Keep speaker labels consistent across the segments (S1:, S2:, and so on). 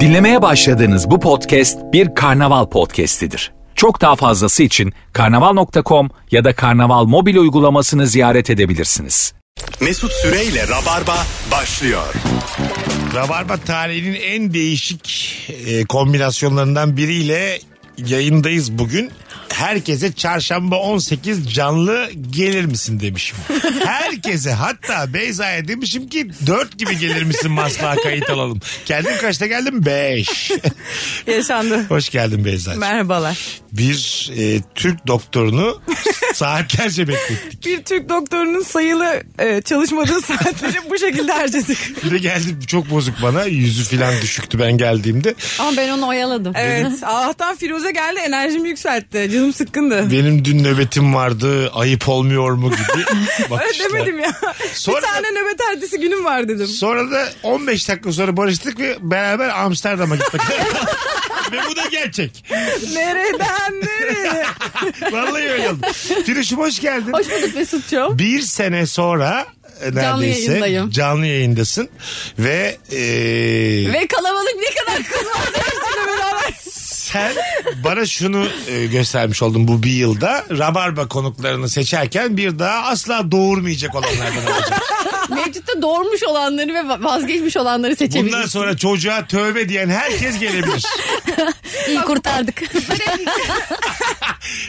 S1: Dinlemeye başladığınız bu podcast bir karnaval podcastidir. Çok daha fazlası için karnaval.com ya da karnaval mobil uygulamasını ziyaret edebilirsiniz.
S2: Mesut Süreyle Rabarba başlıyor.
S3: Rabarba tarihinin en değişik e, kombinasyonlarından biriyle yayındayız bugün. Herkese çarşamba 18 canlı gelir misin demişim. Herkese hatta Beyza'ya demişim ki 4 gibi gelir misin maslağa kayıt alalım. Kendim kaçta geldim? 5.
S4: Yaşandı.
S3: Hoş geldin Beyza'cığım.
S4: Merhabalar.
S3: Bir e, Türk doktorunu saatlerce beklettik.
S4: Bir Türk doktorunun sayılı e, çalışmadığı saatleri bu şekilde harcadık.
S3: Bir de geldi çok bozuk bana. Yüzü filan düşüktü ben geldiğimde.
S5: Ama ben onu oyaladım.
S4: Evet. Allah'tan Firuze geldi enerjimi yükseltti. Canım sıkkındı.
S3: Benim dün nöbetim vardı ayıp olmuyor mu gibi
S4: Öyle
S3: bakışlar.
S4: demedim ya.
S3: Sonra-
S4: Bir tane nöbet ertesi günüm var dedim.
S3: Sonra da 15 dakika sonra barıştık ve beraber Amsterdam'a gitmek. ve bu da gerçek.
S4: Nereden nereye?
S3: Vallahi öyle oldu. Firuş'um hoş geldin.
S5: Hoş bulduk Mesut'cum.
S3: Bir sene sonra e, neredeyse
S5: Canlı yayındayım.
S3: canlı yayındasın ve, e,
S5: Ve kalabalık ne kadar kız var.
S3: sen bana şunu e, göstermiş oldun bu bir yılda Rabarba konuklarını seçerken bir daha asla doğurmayacak olanlardan olacaksın.
S5: Mevcutta doğurmuş olanları ve vazgeçmiş olanları seçebiliriz.
S3: Bundan sonra çocuğa tövbe diyen herkes gelebilir.
S5: İyi kurtardık.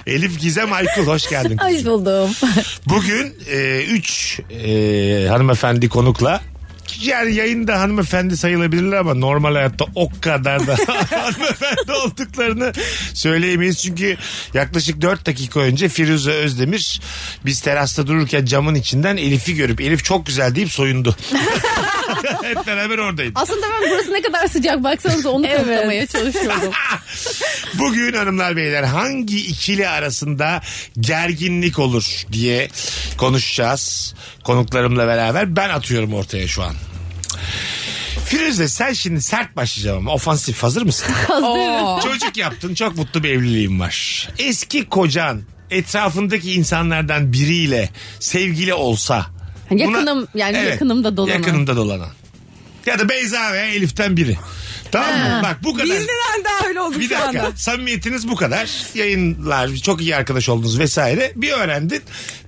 S3: Elif Gizem Aykul hoş geldin.
S5: Hoş buldum.
S3: Bugün 3 hanımefendi konukla yani yayında hanımefendi sayılabilirler ama normal hayatta o kadar da hanımefendi olduklarını söyleyemeyiz. Çünkü yaklaşık 4 dakika önce Firuze Özdemir biz terasta dururken camın içinden Elif'i görüp Elif çok güzel deyip soyundu. Hep beraber oradaydık.
S5: Aslında ben burası ne kadar sıcak baksanıza onu kanıtlamaya çalışıyordum.
S3: Bugün hanımlar beyler hangi ikili arasında gerginlik olur diye konuşacağız konuklarımla beraber. Ben atıyorum ortaya şu an. Firuze sen şimdi sert başlayacağım ama ofansif hazır mısın?
S4: Oo.
S3: Çocuk yaptın çok mutlu bir evliliğin var. Eski kocan etrafındaki insanlardan biriyle sevgili olsa.
S5: Yakınım, yani yakınımda dolanan.
S3: Yakınımda dolanan. Ya da Beyza ve Elif'ten biri. Tamam mı? Bak bu kadar.
S4: Biz neden dahil olduk
S3: Bir
S4: şu
S3: dakika
S4: anda?
S3: samimiyetiniz bu kadar. Yayınlar çok iyi arkadaş oldunuz vesaire. Bir öğrendin.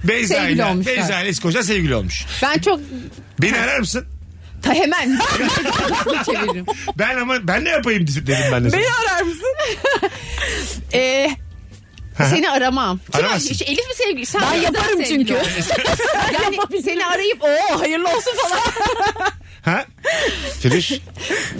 S3: Beyza
S5: Sevgili
S3: ile
S5: olmuşlar.
S3: Beyza ile eski kocan sevgili olmuş.
S5: Ben çok
S3: Beni arar mısın?
S5: ta hemen çeviririm.
S3: Ben ama ben ne yapayım dedim ben de. sana.
S4: Beni arar mısın?
S5: Ee, seni aramam. Kim-
S3: Aramazsın.
S5: Şu Elif mi sevgili? Sen ben yaparım çünkü. yani seni arayıp o hayırlı olsun falan.
S3: Ha? Filiş.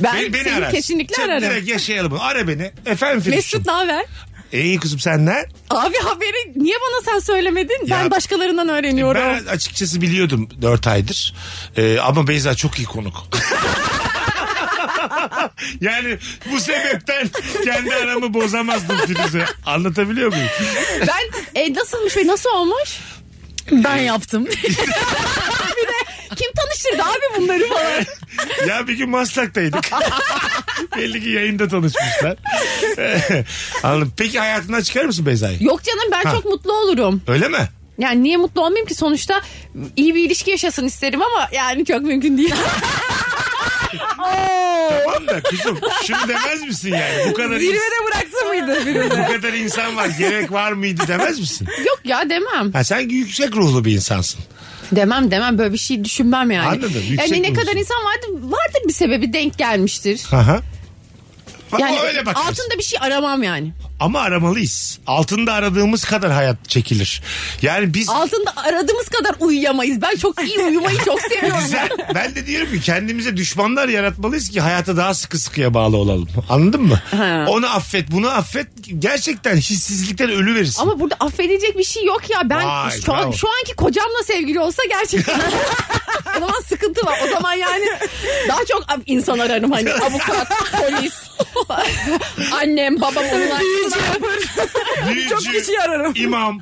S5: Ben
S3: Beni, beni
S5: seni
S3: ararsın.
S5: kesinlikle
S3: Sen
S5: ararım.
S3: Direkt yaşayalım bunu. Ara beni. Efendim Filiş.
S5: Mesut ne haber?
S3: İyi kızım senden.
S5: Abi haberi niye bana sen söylemedin?
S3: Ya-
S5: ben başkalarından öğreniyorum.
S3: Ben açıkçası biliyordum 4 aydır. Ee, ama Beyza çok iyi konuk. yani bu sebepten kendi aramı bozamazdım Firuze. Anlatabiliyor muyum?
S5: Ben e, nasılmış ve nasıl olmuş? Ben yaptım. bir de kim tanıştırdı abi bunları falan.
S3: ya bir gün Maslak'taydık. Belli ki yayında tanışmışlar. Anladım. Peki hayatından çıkar mısın Beyza'yı?
S5: Yok canım ben
S3: Ha.
S5: çok mutlu olurum.
S3: Öyle mi?
S5: Yani niye mutlu olmayayım ki sonuçta iyi bir ilişki yaşasın isterim ama yani çok mümkün değil.
S3: Tamam da kızım şunu demez misin yani? Bu kadar, ins-
S4: Zirvede bıraksa mıydı
S3: bu
S4: Firuze?
S3: kadar insan var gerek var mıydı demez misin?
S5: Yok ya demem.
S3: Ha, sen yüksek ruhlu bir insansın.
S5: Demem demem böyle bir şey düşünmem yani.
S3: Anladım, yüksek
S5: Yani ne
S3: burcu.
S5: kadar insan vardır vardır bir sebebi denk gelmiştir.
S3: Aha. Bak,
S5: Yani
S3: öyle bak.
S5: altında bir şey aramam yani.
S3: Ama aramalıyız. Altında aradığımız kadar hayat çekilir. Yani biz
S5: Altında aradığımız kadar uyuyamayız. Ben çok iyi uyumayı çok seviyorum.
S3: Güzel. Ben de diyorum ki kendimize düşmanlar yaratmalıyız ki hayata daha sıkı sıkıya bağlı olalım. Anladın mı?
S5: Ha.
S3: Onu affet, bunu affet. Gerçekten hissizlikten ölü verirsin.
S5: Ama burada affedilecek bir şey yok ya. Ben
S3: Vay,
S5: şu, an,
S3: bravo.
S5: şu anki kocamla sevgili olsa gerçekten o zaman sıkıntı var. O zaman yani daha çok insan ararım hani avukat, polis, annem, babam onlar.
S3: Büyücü,
S4: Çok kişi ararım.
S3: İmam.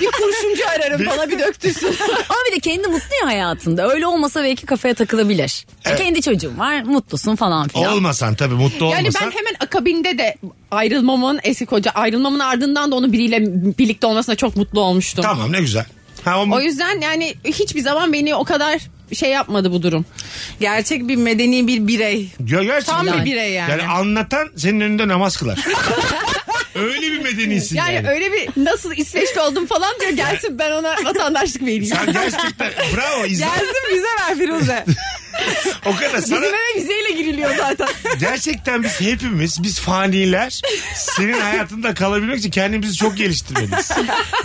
S5: bir kurşuncu ararım bana bir döktürsün.
S6: Ama bir de kendi mutlu ya hayatında. Öyle olmasa belki kafaya takılabilir. Ya Kendi çocuğum var mutlusun falan filan.
S3: Olmasan tabii mutlu
S5: Yani
S3: olmasan.
S5: ben hemen akabinde de ayrılmamın eski koca ayrılmamın ardından da onu biriyle birlikte olmasına çok mutlu olmuştum.
S3: Tamam ne güzel. Ha, o-
S5: O yüzden yani hiçbir zaman beni o kadar şey yapmadı bu durum.
S4: Gerçek bir medeni bir birey.
S3: Ya gerçekten-
S4: Tam bir birey yani.
S3: Yani anlatan senin önünde namaz kılar. Öyle bir medenisin yani.
S5: Yani öyle bir nasıl İsveçli oldum falan diyor gelsin ben ona vatandaşlık vereyim.
S3: Sen gerçekten bravo izle.
S4: Gelsin bize ver Firuze.
S3: O kadar sana
S5: Bizim eve vizeyle giriliyor zaten.
S3: gerçekten biz hepimiz biz faniler senin hayatında kalabilmek için kendimizi çok geliştirmeliyiz.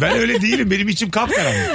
S3: Ben öyle değilim benim içim kapkaranlık.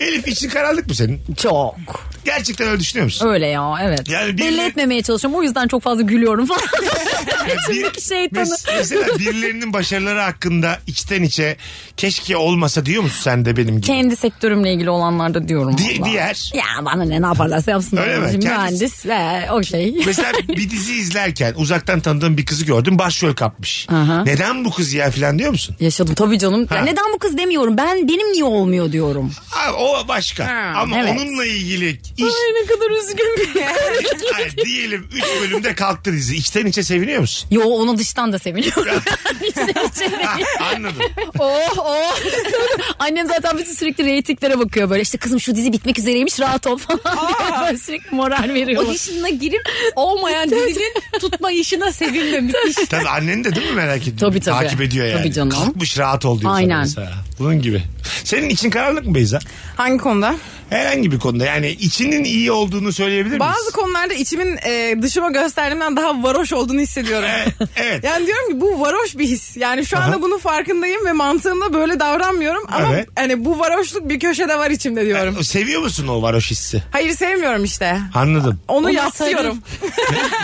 S3: Elif için karanlık mı senin?
S6: Çok.
S3: Gerçekten öyle düşünüyor musun?
S6: Öyle ya evet.
S3: Yani bir-
S6: Belli etmemeye çalışıyorum o yüzden çok fazla gülüyorum falan.
S3: Yani bir-
S6: İçimdeki şeytanı.
S3: mes- mesela birilerinin başarıları hakkında içten içe keşke olmasa diyor musun sen de benim gibi?
S6: Kendi sektörümle ilgili olanlarda diyorum.
S3: Di-
S6: valla.
S3: diğer.
S6: Ya bana ne ne yaparlarsa yapsınlar.
S3: Öyle mi?
S6: Şimdi
S3: Kendisi-
S6: Mühendis ve o şey.
S3: Mesela bir dizi izlerken uzaktan tanıdığım bir kızı gördüm başrol kapmış.
S6: Aha.
S3: Neden bu kız ya filan diyor musun?
S6: Yaşadım tabii canım. Ya
S3: Ha.
S6: neden bu kız demiyorum. Ben benim niye olmuyor diyorum.
S3: Abi, o başka
S6: Ha,
S3: ama
S6: evet.
S3: onunla ilgili iş,
S6: ne kadar üzgün bir
S3: Ay, diyelim 3 bölümde kalktı dizi içten içe seviniyor musun?
S6: Yo onu dıştan da seviniyorum. İçten içe
S3: Ha,
S6: değil.
S3: anladım.
S6: oh oh. Annem zaten bütün sürekli reytinglere bakıyor böyle. işte kızım şu dizi bitmek üzereymiş rahat ol falan diye böyle sürekli moral
S5: O
S6: veriyor.
S5: işine girip olmayan dizinin tutma işine sevinmemiş.
S3: Tabii annen de değil mi merak ediyor?
S6: Tabii, tabii.
S3: Takip ediyor yani.
S6: Tabii canım.
S3: Kalkmış rahat ol diyor sana
S6: Aynen.
S3: mesela. Bunun gibi. Senin için karanlık mı Beyza?
S4: Hangi konuda?
S3: Herhangi bir konuda yani içinin iyi olduğunu söyleyebilir miyiz?
S4: Bazı konularda içimin e, dışıma gösterdiğimden daha varoş olduğunu hissediyorum.
S3: Evet, evet.
S4: Yani diyorum ki bu varoş bir his. Yani şu anda bunun farkındayım ve mantığımda böyle davranmıyorum ama
S3: Evet.
S4: hani bu varoşluk bir köşede var içimde diyorum.
S3: Seviyor musun o varoş hissi?
S4: Hayır sevmiyorum işte.
S3: Anladım.
S4: Onu
S5: Ona
S4: yatsıyorum.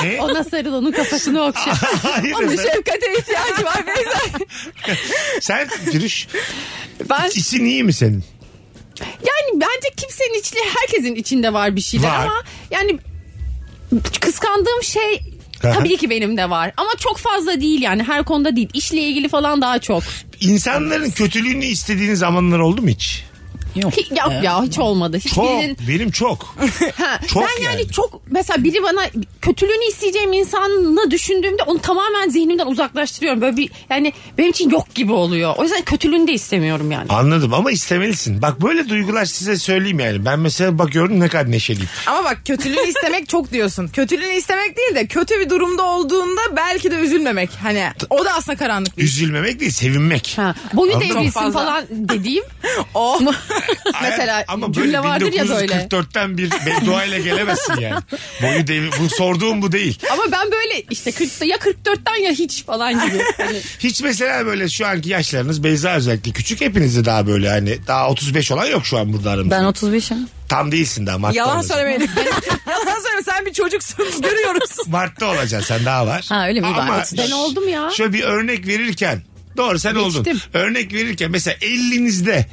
S3: ne? ne?
S5: Ona sarıl onun kafasını okşa.
S3: Hayır
S5: Onun
S3: efendim.
S6: şey-
S5: şefkate ihtiyacı var Beyza.
S3: Sen giriş.
S5: Ben
S3: İçin iyi mi senin?
S5: yani bence kimsenin içli herkesin içinde var bir şeyler
S3: Var.
S5: ama yani kıskandığım şey
S3: Aha.
S5: tabii ki benim de var ama çok fazla değil yani her konuda değil işle ilgili falan daha çok.
S3: İnsanların kötülüğünü istediğiniz zamanlar oldu mu hiç?
S6: Yok.
S5: Hi- ya, ya hiç olmadı. Hiç
S3: Ee, Çok.
S5: birinin-
S3: Benim çok.
S5: Ha,
S3: Çok
S5: ben yani,
S3: yani.
S5: çok mesela biri bana kötülüğünü isteyeceğim insanı düşündüğümde onu tamamen zihnimden uzaklaştırıyorum. Böyle bir yani benim için yok gibi oluyor. O yüzden kötülüğünü de istemiyorum yani.
S3: Anladım ama istemelisin. Bak böyle duygular size söyleyeyim yani. Ben mesela bak gördüm ne kadar neşeliyim.
S4: Ama bak kötülüğünü istemek çok diyorsun. Kötülüğünü istemek değil de kötü bir durumda olduğunda belki de üzülmemek. Hani o da aslında karanlık bir
S3: Üzülmemek değil sevinmek.
S5: Ha, boyun
S3: Anladım.
S5: devrilsin
S4: Çok fazla.
S5: falan dediğim.
S4: O.
S5: mesela
S3: Hayat- ama
S5: cümle vardır ya böyle.
S3: 1944'ten bir beddua ile gelemezsin yani. Boyu devi, bu sorduğum bu değil.
S5: Ama ben böyle işte 40'ta ya 44'ten ya hiç falan gibi. Hani
S3: Hiç mesela böyle şu anki yaşlarınız Beyza özellikle küçük hepinizde daha böyle hani daha 35 olan yok şu an burada aramızda.
S6: Ben 35'im.
S3: Tam değilsin daha Mart'ta
S4: Yalan
S3: olacaksın.
S4: söylemeyelim. Yalan söyleme sen bir çocuksun görüyoruz.
S3: Mart'ta olacaksın sen daha var.
S6: Ha, öyle mi?
S3: Ama
S6: Ben-
S5: ben oldum ya.
S3: Şöyle bir örnek verirken doğru sen oldun.
S5: Geçtim.
S3: Örnek verirken mesela elinizde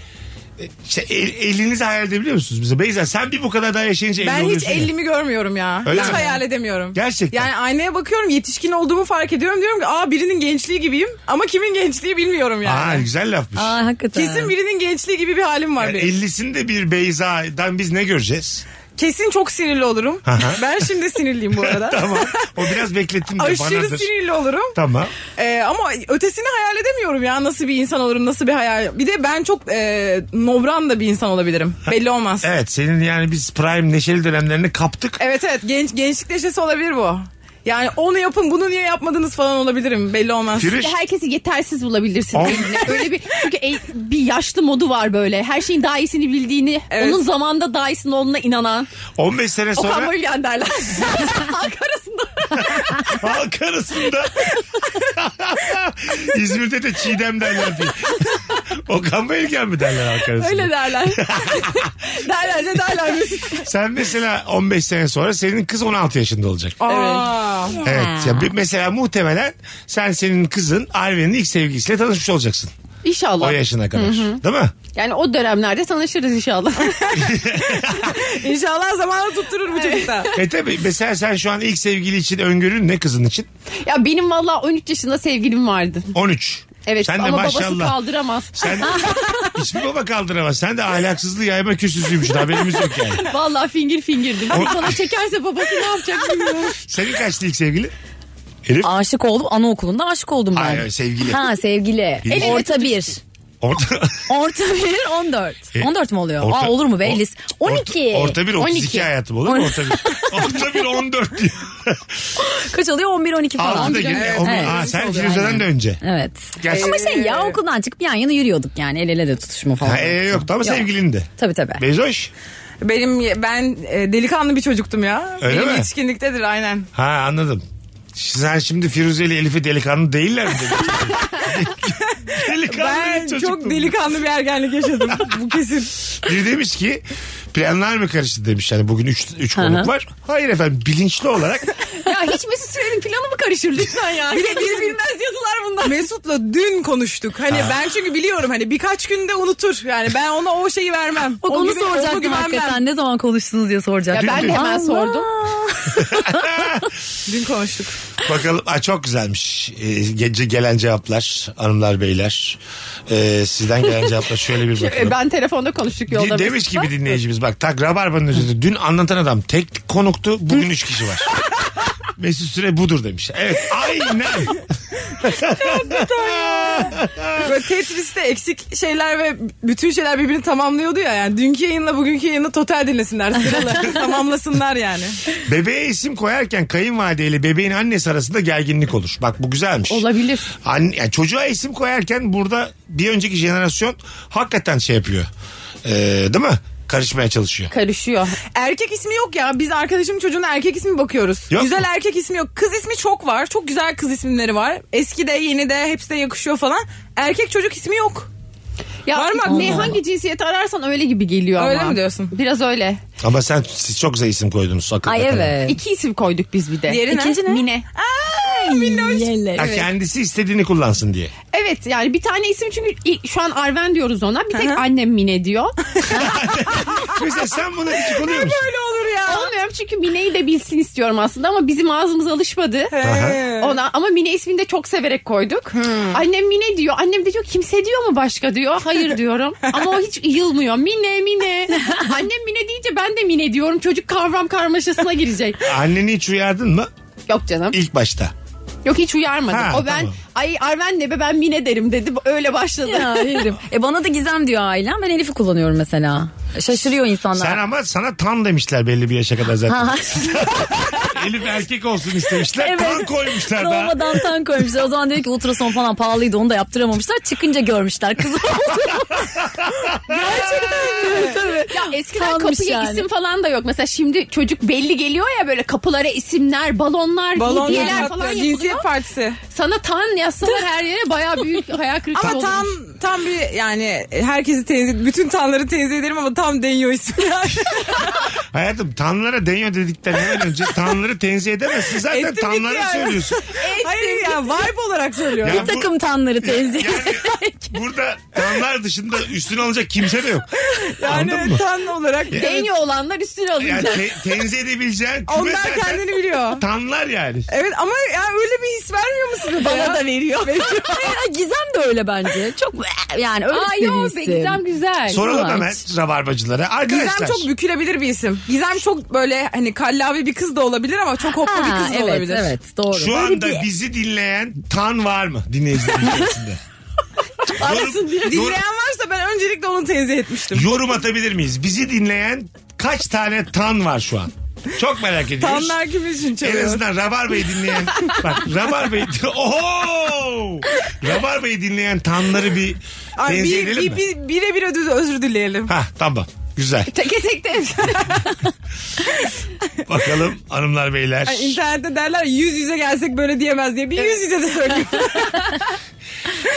S3: işte el, elinizi hayal edebiliyor musunuz? Mesela Beyza sen bir bu kadar daha yaşayınca elli
S4: Ben hiç
S3: oluyorsun ya.
S4: elimi görmüyorum ya.
S3: Öyle
S4: hiç
S3: mi?
S4: hayal edemiyorum.
S3: Gerçekten.
S4: Yani aynaya bakıyorum yetişkin olduğumu fark ediyorum. Diyorum ki aa birinin gençliği gibiyim ama kimin gençliği bilmiyorum yani.
S3: Aa, güzel lafmış.
S6: Aa hakikaten.
S4: Kesin birinin gençliği gibi bir halim var
S3: Yani
S4: benim.
S3: 50'sinde bir Beyza'dan biz ne göreceğiz?
S4: Kesin çok sinirli olurum.
S3: Aha.
S4: ben şimdi sinirliyim bu arada.
S3: Tamam. O biraz beklettim de
S4: Aşırı
S3: banadır.
S4: sinirli olurum.
S3: Tamam.
S4: Ee, ama ötesini hayal edemiyorum ya nasıl bir insan olurum nasıl bir hayal. Bir de ben çok e, nobran da bir insan olabilirim. Belli olmaz. Evet
S3: Evet senin yani biz prime neşeli dönemlerini kaptık.
S4: evet, genç gençlik neşesi olabilir bu. Yani onu yapın bunu niye yapmadınız falan olabilirim belli olmaz.
S3: Firuş,
S5: herkesi yetersiz bulabilirsin.
S3: Aa.
S5: elinde. Öyle bir çünkü e- bir yaşlı modu var böyle. Her şeyin daha iyisini bildiğini,
S4: Evet.
S5: onun zamanda daha iyisinin olduğuna inanan.
S3: 15 sene
S5: Okan
S3: sonra
S5: Bölgen derler. Halk arasında.
S3: halk arasında İzmir'de de Çiğdem derler diye. Okan Bayülgen mi derler halk arasında?
S5: Öyle derler. derler de derler.
S3: Sen mesela 15 sene sonra senin kız 16 yaşında olacak.
S4: Aa.
S3: Evet. Ya bir- mesela muhtemelen sen senin kızın Arven'in ilk sevgilisiyle tanışmış olacaksın. O
S5: İnşallah.
S3: yaşına kadar. Değil mi?
S5: Yani o dönemlerde tanışırız inşallah.
S4: İnşallah zamanla tutturur bu çocuk da.
S3: E tabi mesela sen şu an ilk sevgili için öngörün ne kızın için?
S5: ya benim valla 13 yaşında sevgilim vardı.
S3: 13.
S5: Evet
S3: Sen de
S5: ama babası
S3: maşallah.
S5: kaldıramaz.
S3: Sen hiçbir baba kaldıramaz. Sen de ahlaksızlığı yayma kürsüsüymüşsün haberimiz yok yani.
S5: Valla fingir fingirdim.
S3: O-
S5: Bana çekerse babası ne yapacak bilmiyorum.
S3: Senin kaçtı ilk sevgili? Elif?
S6: Aşık oldum anaokulunda aşık oldum ben.
S3: Hayır, hayır, sevgili.
S6: Ha sevgili.
S3: Bilmiyorum.
S6: Orta bir.
S3: Orta,
S6: Orta bir 14.
S3: E,
S6: 14 mü oluyor?
S3: orta-
S6: Aa, olur mu be?
S3: o-
S6: Lis- 12.
S3: Orta, orta bir 32 hayatım olur mu? Orta bir, orta bir 14 diyor.
S6: Kaç oluyor? 11 12 falan.
S3: Altı da gene.
S6: Evet,
S3: on-
S6: evet.
S3: Aa, sen
S6: Oluyor,
S3: Firuze'den
S6: aynen.
S3: de önce.
S6: Evet.
S3: Gerçi-
S6: Ama şey ya okuldan çıkıp yan yana yürüyorduk yani el ele de tutuşma falan.
S3: Ha, e, yoktu ama sevgilin de.
S6: Tabii tabii.
S3: Bezoş.
S4: Benim ben e, delikanlı bir çocuktum ya.
S3: Öyle
S4: Benim
S3: mi?
S4: yetişkinliktedir aynen.
S3: Ha anladım. Sen şimdi Firuze ile Elif'e delikanlı değiller mi? dedin? delikanlı
S4: Ben
S3: bir
S4: çok
S3: çocuktum.
S4: delikanlı bir ergenlik yaşadım. Bu kesin.
S3: Biri demiş ki planlar mı karıştı demiş. Yani bugün 3 konuk var. Hayır efendim bilinçli olarak
S5: Ya hiç Mesut Süren'in planı mı karışır lütfen ya?
S4: Bir de biz bilmez yazılar bunlar. Mesut'la dün konuştuk. Hani ben çünkü biliyorum hani birkaç günde unutur. Yani ben ona o şeyi vermem.
S6: Bak
S4: O
S6: onu
S4: güven- ona
S6: soracaktım
S4: güvenmem.
S6: hakikaten. Ne zaman konuştunuz diye
S5: Ya
S6: soracaktım.
S5: ben de hemen
S6: Allah.
S5: sordum.
S4: Dün konuştuk.
S3: Bakalım Aa, çok güzelmiş. Ee, gece gelen cevaplar hanımlar beyler. Ee, sizden gelen cevaplar şöyle bir bakalım.
S5: E, Ben telefonda konuştuk
S3: De-
S5: yolda. şey
S3: demiş ki bir dinleyicimiz bak tak Rabarba'nın özünde dün anlatan adam tek konuktu bugün üç kişi var. Mesut Süre budur demiş. Evet aynen.
S4: Böyle Tetris'te eksik şeyler ve bütün şeyler birbirini tamamlıyordu ya. Yani dünkü yayınla bugünkü yayını total dinlesinler. Sıralı. tamamlasınlar yani.
S3: Bebeğe isim koyarken kayınvalideyle bebeğin annesi arasında gerginlik olur. Bak bu güzelmiş.
S5: Olabilir.
S3: Anne, yani çocuğa isim koyarken burada bir önceki jenerasyon hakikaten şey yapıyor. Ee, değil mi? Karışmaya çalışıyor.
S5: Karışıyor.
S4: Erkek ismi yok ya. Biz arkadaşımın çocuğuna erkek ismi bakıyoruz.
S3: Yok
S4: güzel
S3: mu?
S4: erkek ismi yok. Kız ismi çok var. Çok güzel kız isimleri var. Eski de yeni de hepsi de yakışıyor falan. Erkek çocuk ismi yok.
S5: Ya
S4: Var mı
S5: ne
S4: aklına?
S5: hangi cinsiyeti ararsan öyle gibi geliyor ama.
S4: Öyle mi diyorsun?
S5: Biraz öyle.
S3: Ama sen siz çok güzel isim koydunuz. Akılda
S6: Ay
S3: kalan.
S6: evet.
S5: İki isim koyduk biz bir de.
S4: Diğeri ne?
S5: İkinci Mine.
S3: Ya kendisi istediğini kullansın diye.
S5: Evet yani bir tane isim çünkü i- şu an Arven diyoruz ona. Bir tek
S4: Hı hı.
S5: annem Mine diyor.
S3: Mesela sen buna küçük oluyor musun?
S4: Öyle olur ya.
S5: Olmuyorum çünkü Mine'yi de bilsin istiyorum aslında ama bizim ağzımız alışmadı.
S4: Ee,
S5: Ona ama Mine ismini de çok severek koyduk. Annem Mine diyor. Annem de diyor kimse diyor mu başka diyor. Hayır diyorum. Ama o hiç yılmıyor. Mine Mine. Annem Mine deyince ben de Mine diyorum. Çocuk kavram karmaşasına girecek.
S3: Anneni hiç uyardın mı?
S5: Yok canım.
S3: İlk başta.
S5: Yok hiç uyarmadım.
S3: Ha,
S5: o ben
S3: tamam.
S5: ay Arven ne be ben Mine derim dedi. Öyle başladı.
S6: Ya yerim. E bana da Gizem diyor ailem. Ben Elif'i kullanıyorum mesela. Şaşırıyor insanlar.
S3: Sen ama sana tan demişler belli bir yaşa kadar zaten. Elif erkek olsun istemişler. Tan koymuşlar daha.
S6: Doğmadan tan koymuşlar. O zaman dedi ki ultrason falan pahalıydı onu da yaptıramamışlar. Çıkınca görmüşler kızı olduğunu. Gerçekten tabii.
S5: Ya eskiden
S6: Kalmış
S5: kapıya
S6: yani.
S5: isim falan da yok. Mesela şimdi çocuk belli geliyor ya böyle kapılara isimler, balonlar,
S4: Balon
S5: hediyeler
S4: hatta
S5: falan yapılıyor.
S4: cinsiyet partisi.
S5: Sana tan yazsalar her yere baya büyük hayal kırıklığı
S4: Ama
S5: olur.
S4: tam tam bir yani herkesi tenzih bütün tanları tenzih ederim ama tam deniyor ismi yani.
S3: Hayatım tanlara deniyor dedikten hemen önce tanları tenzih edemezsin. Zaten
S4: Ettim
S3: tanları
S4: gitti yani.
S3: söylüyorsun.
S4: Hayır ya vibe olarak söylüyorum.
S3: Ya
S6: Bir
S3: bu-
S6: takım tanları tenzih.
S3: Yani burada tanlar dışında üstüne alacak kimse de yok. Anladın
S4: yani
S3: mı?
S4: tan olarak
S5: Deniyor olanlar üstüne
S3: Yani
S5: alınacak.
S3: te- tenzih edebileceğin küme
S4: onlar
S3: zaten
S4: kendini biliyor.
S3: tanlar yani.
S4: Evet ama ya öyle bir his vermiyor musunuz? ya?
S6: Bana da veriyor. Ay, Gizem de öyle bence. Çok yani öyle
S5: Ay
S6: Ay,
S5: yok be Gizem güzel.
S3: Soralım
S6: Evet.
S3: hemen rabarbacılara. Arkadaşlar.
S4: E, Gizem çok bükülebilir bir isim. Gizem çok böyle hani kallavi bir kız da olabilir ama çok hoppa bir
S6: Ha,
S4: kız da
S6: evet
S4: olabilir.
S6: evet doğru.
S3: Şu anda bizi dinleyen tan var mı dinleyicilerin içerisinde? Arasın
S4: Dinleyen varsa ben öncelikle onu tenzih etmiştim.
S3: Yorum atabilir miyiz? Bizi dinleyen kaç tane tan var şu an? Çok merak ediyoruz.
S4: Tanlar kim için
S3: En
S4: çalıyor?
S3: azından Rabarba'yı dinleyen bak Rabarba'yı oho Rabarba'yı dinleyen tanları bir
S4: Ay,
S3: tenzih
S4: bir,
S3: edelim
S4: bir,
S3: mi?
S4: bir, bire bir ödü- özür dileyelim.
S3: Ha tamam güzel.
S5: Teke tek de
S3: Bakalım hanımlar beyler.
S4: Hani internette derler yüz yüze gelsek böyle diyemez diye. Bir yüz yüze de söyleyeyim.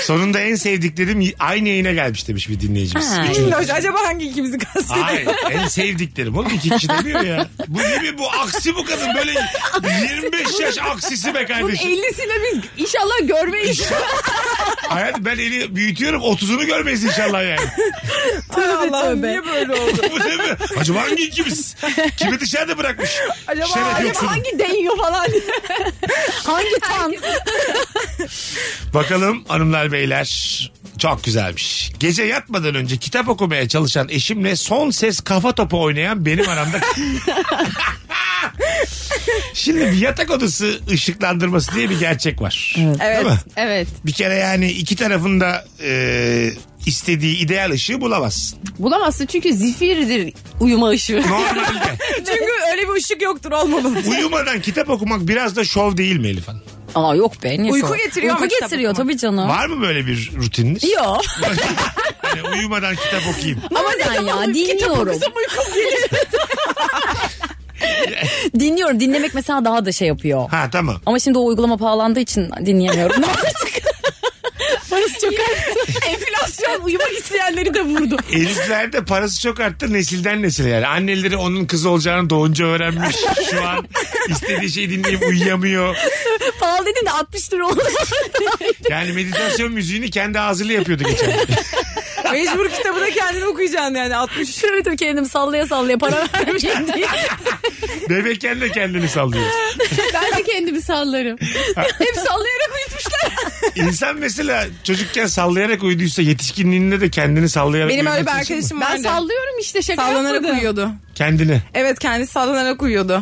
S3: Sonunda en sevdiklerim aynı yayına gelmiş demiş bir dinleyicimiz.
S6: Ha.
S3: Üçüncü-
S4: Minnoş acaba hangi ikimizi kastediyor?
S3: Hayır en sevdiklerim. Oğlum iki kişi demiyor ya. Bu gibi bu aksi bu kadın böyle 25 yaş aksisi be kardeşim.
S5: ellisiyle biz inşallah görmeyiz.
S3: Hayat ben eli büyütüyorum 30'unu görmeyiz inşallah yani.
S4: Hay Allah'ım
S6: tövbe.
S4: niye böyle oldu?
S3: Bu değil mi? Acaba hangi ikimiz? Kimi dışarıda bırakmış?
S4: Acaba-
S3: Şeref
S4: acaba
S3: yoksun.
S5: Hangi deniyor falan.
S6: Hangi tan?
S3: Bakalım hanımlar beyler. Çok güzelmiş. Gece yatmadan önce kitap okumaya çalışan eşimle son ses kafa topu oynayan benim aramda. Şimdi bir yatak odası ışıklandırması diye bir gerçek var.
S4: Evet.
S3: Değil mi?
S5: Evet.
S3: Bir kere yani iki tarafında e, istediği ideal ışığı bulamazsın.
S5: Bulamazsın çünkü zifirdir uyuma ışığı.
S3: Normalde.
S4: Çünkü öyle bir ışık yoktur olmamalı.
S3: Uyumadan kitap okumak biraz da şov değil mi Elif Hanım?
S6: Aa yok be. niye
S4: Uyku
S6: sonra?
S4: getiriyor ama
S6: Uyku
S4: kitap
S6: getiriyor
S4: okumak.
S6: tabii canım.
S3: Var mı böyle bir rutininiz?
S6: Yok.
S3: Hani uyumadan kitap okuyayım.
S6: Ama ben ya dinliyorum. dinliyorum. Dinlemek mesela daha da şey yapıyor.
S3: Ha tamam.
S6: Ama şimdi o uygulama pahalandığı için dinleyemiyorum artık. Parası çok arttı.
S5: Enflasyon uyumak isteyenleri de vurdu.
S3: Eliflerde parası çok arttı nesilden nesile yani. Anneleri onun kızı olacağını doğunca öğrenmiş. Şu an istediği şeyi dinleyip uyuyamıyor.
S6: Pahalı dedin de 60 lira oldu.
S3: Yani meditasyon müziğini kendi ağzıyla yapıyordu geçen. gün.
S4: Mecbur kitabı da kendin okuyacaksın yani 60
S6: Şöyle tabii kendimi sallaya sallaya para vermeyeyim diye.
S3: Bebekken de kendini sallıyor.
S5: Ben de kendimi sallarım. Hep sallayarak uyutmuşlar.
S3: İnsan mesela çocukken sallayarak uyuduysa yetişkinliğinde de kendini sallayarak
S4: Benim öyle bir
S3: uyumak için-
S4: arkadaşım
S5: Ben
S4: vardı.
S5: sallıyorum işte şaka
S4: Sallanarak
S5: yapmadım.
S4: uyuyordu.
S3: Kendini.
S4: Evet kendisi sallanarak uyuyordu.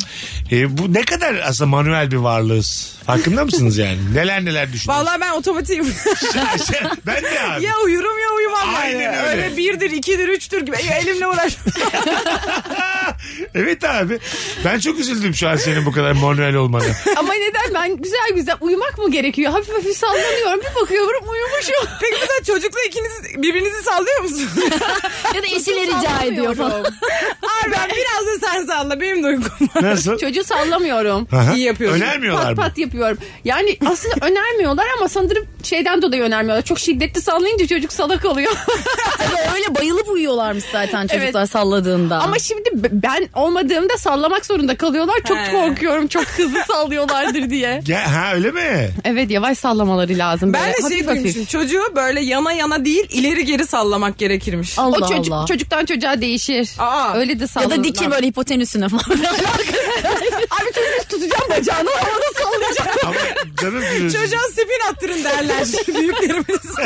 S3: E, bu ne kadar aslında manuel bir varlığız. Farkında mısınız yani? Neler neler düşünüyoruz.
S4: Vallahi ben otomatiğim.
S3: ben de abi.
S4: ya uyurum ya uyumam yani.
S3: Aynen öyle.
S4: öyle. birdir, ikidir, üçtür gibi. Ya elimle uğraş.
S3: evet abi. Ben çok üzüldüm şu an senin bu kadar manuel olmana.
S5: Ama neden ben güzel güzel uyumak mı gerekiyor? Hafif hafif sallanıyorum bir bakıyorum uyumuşum.
S4: Peki mesela çocukla ikiniz birbirinizi sallıyor musunuz?
S6: Ya da eşiyle rica ediyor falan.
S4: Abi ben biraz da sen salla benim de uykum var.
S3: Nasıl?
S5: Çocuğu sallamıyorum.
S3: Aha.
S4: İyi yapıyorsun.
S3: Önermiyorlar
S5: Pat
S3: mı?
S5: pat yapıyorum. Yani aslında önermiyorlar ama sanırım şeyden dolayı önermiyorlar. Çok şiddetli sallayınca çocuk salak oluyor.
S6: Tabii öyle bayılıp uyuyorlarmış zaten çocuklar salladığında.
S5: ama şimdi b- ben olmadığımda sallamak zorunda kalıyorlar. Çok
S4: He.
S5: korkuyorum çok hızlı sallıyorlardır diye.
S3: Ge- ha öyle mi?
S5: Evet yavaş sallamaları lazım.
S4: Ben
S5: böyle.
S4: de şey
S5: Hafif hafif.
S4: duymuştum. Çocuğu böyle yana yana değil ileri geri sallamak gerekirmiş.
S6: Allah
S5: o çocuk,
S6: Allah.
S5: çocuktan çocuğa değişir.
S4: Aa.
S5: Öyle de
S6: ya
S5: sallanır.
S6: da dikir böyle hipotenüsüne falan.
S5: Abi çocuğu tutacağım bacağını havada sallayacağım.
S3: Ama canım gülüyorsun.
S4: Çocuğa spin attırın derler büyüklerimiz.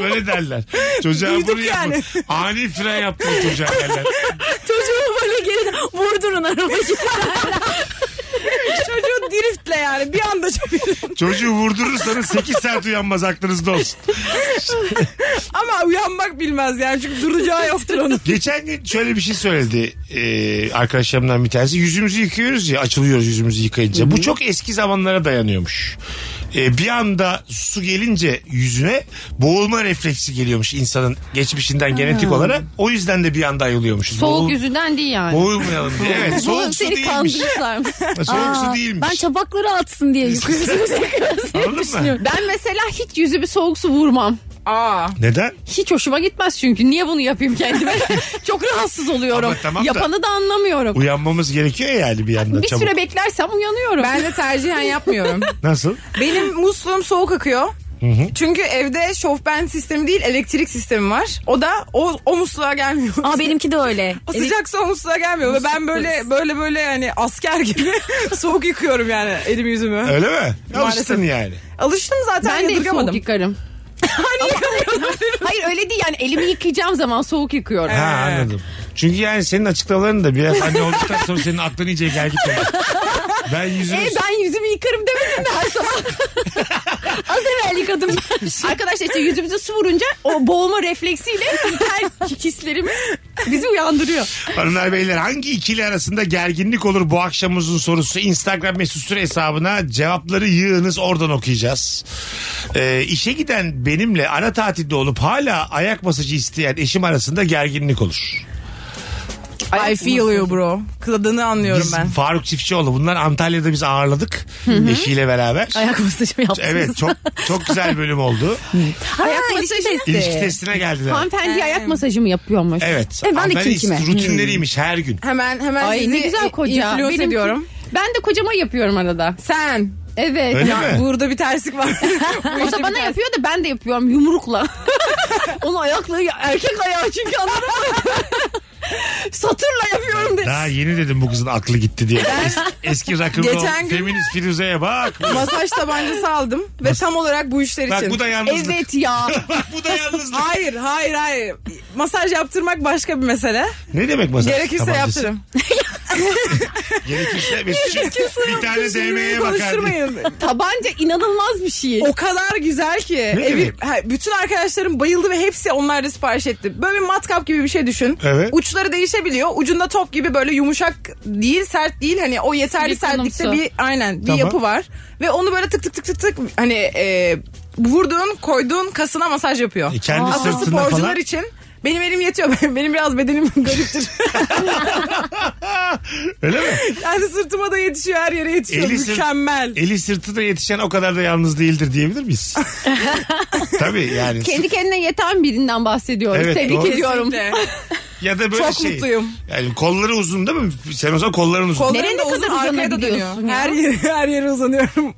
S3: Böyle derler. Çocuğa
S4: Duyduk
S3: bunu yapın.
S4: yani.
S3: Ani fren yaptın çocuğa derler.
S6: Çocuğu böyle geri vurdurun arabayı.
S4: Çocuğu driftle yani bir anda çabuk.
S3: Çocuğu vurdurursanız 8 saat uyanmaz aklınızda olsun.
S4: Ama uyanmak bilmez yani çünkü duracağı yoktur onun.
S3: Geçen gün şöyle bir şey söyledi e, arkadaşlarımdan bir tanesi. Yüzümüzü yıkıyoruz ya açılıyoruz yüzümüzü yıkayınca. Bu çok eski zamanlara dayanıyormuş. E, bir anda su gelince yüzüne boğulma refleksi geliyormuş insanın geçmişinden genetik olarak. O yüzden de bir anda ayılıyormuşuz.
S5: Soğuk
S3: Boğul-
S5: yüzünden değil yani.
S3: Boğulmayalım diye. Evet soğuk su
S5: Seni
S3: değilmiş.
S5: kandırırlarmış.
S3: Soğuk su
S6: Aa,
S3: değilmiş.
S6: Ben çabakları atsın diye yukarı
S3: Anladın mı?
S5: Ben mesela hiç yüzümü soğuk su vurmam.
S4: Aa.
S3: Neden?
S5: Hiç hoşuma gitmez çünkü. Niye bunu yapayım kendime? Çok rahatsız oluyorum.
S3: Ama tamam da-
S5: Yapanı da anlamıyorum.
S3: Uyanmamız gerekiyor yani bir yandan
S5: bir
S3: çabuk.
S5: süre beklersem uyanıyorum.
S4: Ben de tercihen yapmıyorum.
S3: Nasıl?
S4: Benim musluğum soğuk akıyor. Çünkü evde şofben sistemi değil elektrik sistemi var. O da o, o musluğa gelmiyor.
S6: Aa benimki de öyle.
S4: O sıcak su o musluğa gelmiyor. Ve ben böyle böyle böyle hani asker gibi soğuk yıkıyorum yani elimi yüzümü.
S3: Öyle mi? Alıştın
S4: Maalesef.
S3: yani.
S4: Alıştım zaten
S5: Ben de hep soğuk
S4: yadırgamadım.
S5: yıkarım. Hayır öyle değil yani elimi yıkayacağım zaman soğuk yıkıyorum.
S3: Ha anladım. Çünkü yani senin açıklamaların da biraz anne olduktan sonra senin aklın iyice gel git. yani. Ben
S5: E,
S3: yüzümü...
S5: ben yüzümü yıkarım demedim mi her zaman? Az evvel yıkadım. Arkadaşlar işte yüzümüze su vurunca o boğulma refleksiyle her hislerimiz bizi uyandırıyor.
S3: Hanımlar beyler hangi ikili arasında gerginlik olur bu akşamımızın sorusu Instagram mesut süre hesabına cevapları yığınız oradan okuyacağız. Ee, işe giden benimle ara tatilde olup hala ayak masajı isteyen eşim arasında gerginlik olur.
S4: I feel you bro. Kadını anlıyorum
S3: Biz
S4: ben.
S3: Faruk Çiftçioğlu bunlar Antalya'da biz ağırladık eşiyle beraber.
S6: Ayak masajımı yaptınız.
S3: Evet çok çok güzel bölüm oldu.
S6: Ayak
S5: ilişki
S6: masajı.
S3: İlişki testine geldiler.
S5: şey, Hanımefendi
S4: Ee.
S5: ayak masajı mı yapıyormuş?
S3: Evet.
S6: E, ben de
S3: Hanımefendi
S6: kim
S4: Hmm.
S6: kime?
S3: Rutinleriymiş her gün.
S4: Hemen hemen
S5: Ay
S4: sizi
S5: ne güzel koca.
S4: influence
S5: Benim-
S4: ediyorum.
S5: Ben de kocama yapıyorum arada.
S4: Sen.
S5: Evet.
S3: Öyle mi?
S4: Burada bir terslik var.
S5: O da bana yapıyor da ben de yapıyorum yumrukla. Onun ayakları erkek ayağı çünkü anladın mı? Satırla yapıyorum diye.
S3: Daha yeni dedim bu kızın aklı gitti diye. Es- eski rock'n'roll
S4: Geçen gün-
S3: feminist Firuze'ye bak.
S4: Masaj tabancası aldım ve tam olarak bu işler
S3: Bak
S4: için.
S3: bu da yalnızlık.
S5: Evet ya.
S3: Bak bu da yalnızlık.
S4: Hayır hayır hayır. Masaj yaptırmak başka bir mesele.
S3: ne demek masaj?
S4: Gerekirse
S3: tabancası?
S4: yaptırım.
S3: Gerekirse Mesut'cum bir tane
S4: Kimse
S3: DM'ye
S4: birbirini
S3: bakar. diye.
S4: konuşturmayın.
S5: Tabanca inanılmaz bir şey.
S4: O kadar güzel ki. Evi,
S3: demek?
S4: ha, bütün arkadaşlarım bayıldı ve hepsi onlar da sipariş etti. Böyle bir matkap gibi bir şey düşün.
S3: Evet.
S4: Uçları değişebiliyor. Ucunda top gibi böyle yumuşak değil sert değil. Hani o yeterli
S5: Silikonumsu.
S4: sertlikte bir aynen bir
S3: Tamam.
S4: yapı var. Ve onu böyle tık tık tık tık tık hani e, vurduğun koyduğun kasına masaj yapıyor.
S3: E, kendi
S4: Asıl
S3: sırtına
S4: sporcular
S3: falan.
S4: için benim elim yetiyor. Benim biraz bedenim gariptir.
S3: Öyle mi?
S4: yani sırtıma da yetişiyor her yere yetişiyor.
S3: Eli sırt-
S4: Mükemmel.
S3: Eli sırtı da yetişen o kadar da yalnız değildir diyebilir miyiz? Tabii yani.
S5: Kendi kendine yeten birinden bahsediyorum.
S3: Evet,
S5: Tebrik
S3: doğru.
S5: ediyorum.
S4: Kesinlikle.
S3: Ya da böyle
S4: Çok
S3: şey.
S4: mutluyum.
S3: Yani kolları uzun değil mi? Sen o zaman kolların uzun.
S4: Kollarım
S5: Nereye
S4: da
S5: kadar
S4: uzun arkaya da dönüyor.
S5: uzanabiliyorsun ya?
S4: Her yere, her yere uzanıyorum.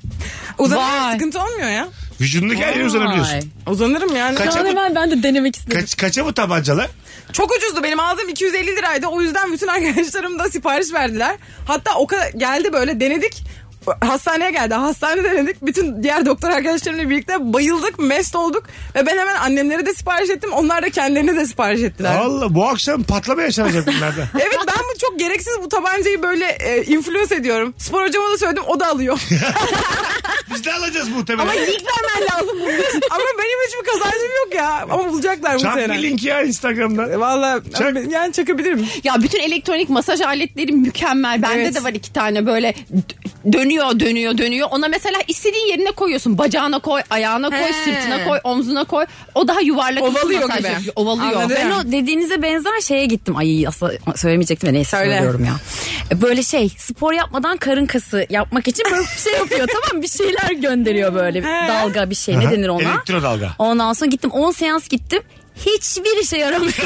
S4: Uzanıyorum
S5: Vay.
S4: sıkıntı olmuyor ya.
S3: Vücudundaki her yere uzanabiliyorsun.
S4: Uzanırım yani.
S3: Kaça
S6: Hemen
S3: bu,
S6: ben, ben de denemek istedim.
S3: kaç, kaça bu tabancalar?
S4: Çok ucuzdu benim aldığım 250 liraydı. O yüzden bütün arkadaşlarım da sipariş verdiler. Hatta o kadar geldi böyle denedik. Hastaneye geldi. Hastane denedik. Bütün diğer doktor arkadaşlarımla birlikte bayıldık, mest olduk. Ve ben hemen annemlere de sipariş ettim. Onlar da kendilerine de sipariş ettiler.
S3: Allah bu akşam patlama yaşanacak bunlarda.
S4: Evet ben bu çok gereksiz bu tabancayı böyle e, influence ediyorum. Spor hocama da söyledim o da alıyor.
S3: Biz de alacağız
S5: Ama
S3: muhtemelen.
S5: lig vermen lazım bunun için.
S4: Ama benim hiçbir kazancım yok ya. Ama bulacaklar bu
S3: Çarp
S4: sene.
S3: bir linki ya
S6: Ee,
S3: Instagram'dan.
S4: Valla
S3: Çak.
S4: ben- yani çakabilirim.
S5: Ya bütün elektronik masaj aletleri mükemmel. Bende
S4: Evet.
S5: de var iki tane böyle d- dönüyor dönüyor dönüyor. Ona mesela istediğin yerine koyuyorsun. Bacağına koy, ayağına koy,
S4: He.
S5: sırtına koy, omzuna koy. O daha yuvarlak.
S4: Ovalıyor
S5: masaj
S4: gibi.
S5: yapıyor. Ovalıyor.
S4: Anladım.
S6: Ben o dediğinize benzer şeye gittim. Ay aslında söylemeyecektim de neyse
S4: Söyle.
S6: söylüyorum ya. E, Böyle şey spor yapmadan karın kası yapmak için böyle bir şey yapıyor tamam mı? Bir şeyler gönderiyor böyle bir
S4: He.
S6: dalga bir şey ne
S3: Aha,
S6: denir ona?
S3: elektrodalga.
S6: Ondan sonra gittim 10 seans gittim. Hiçbir işe yaramıyor.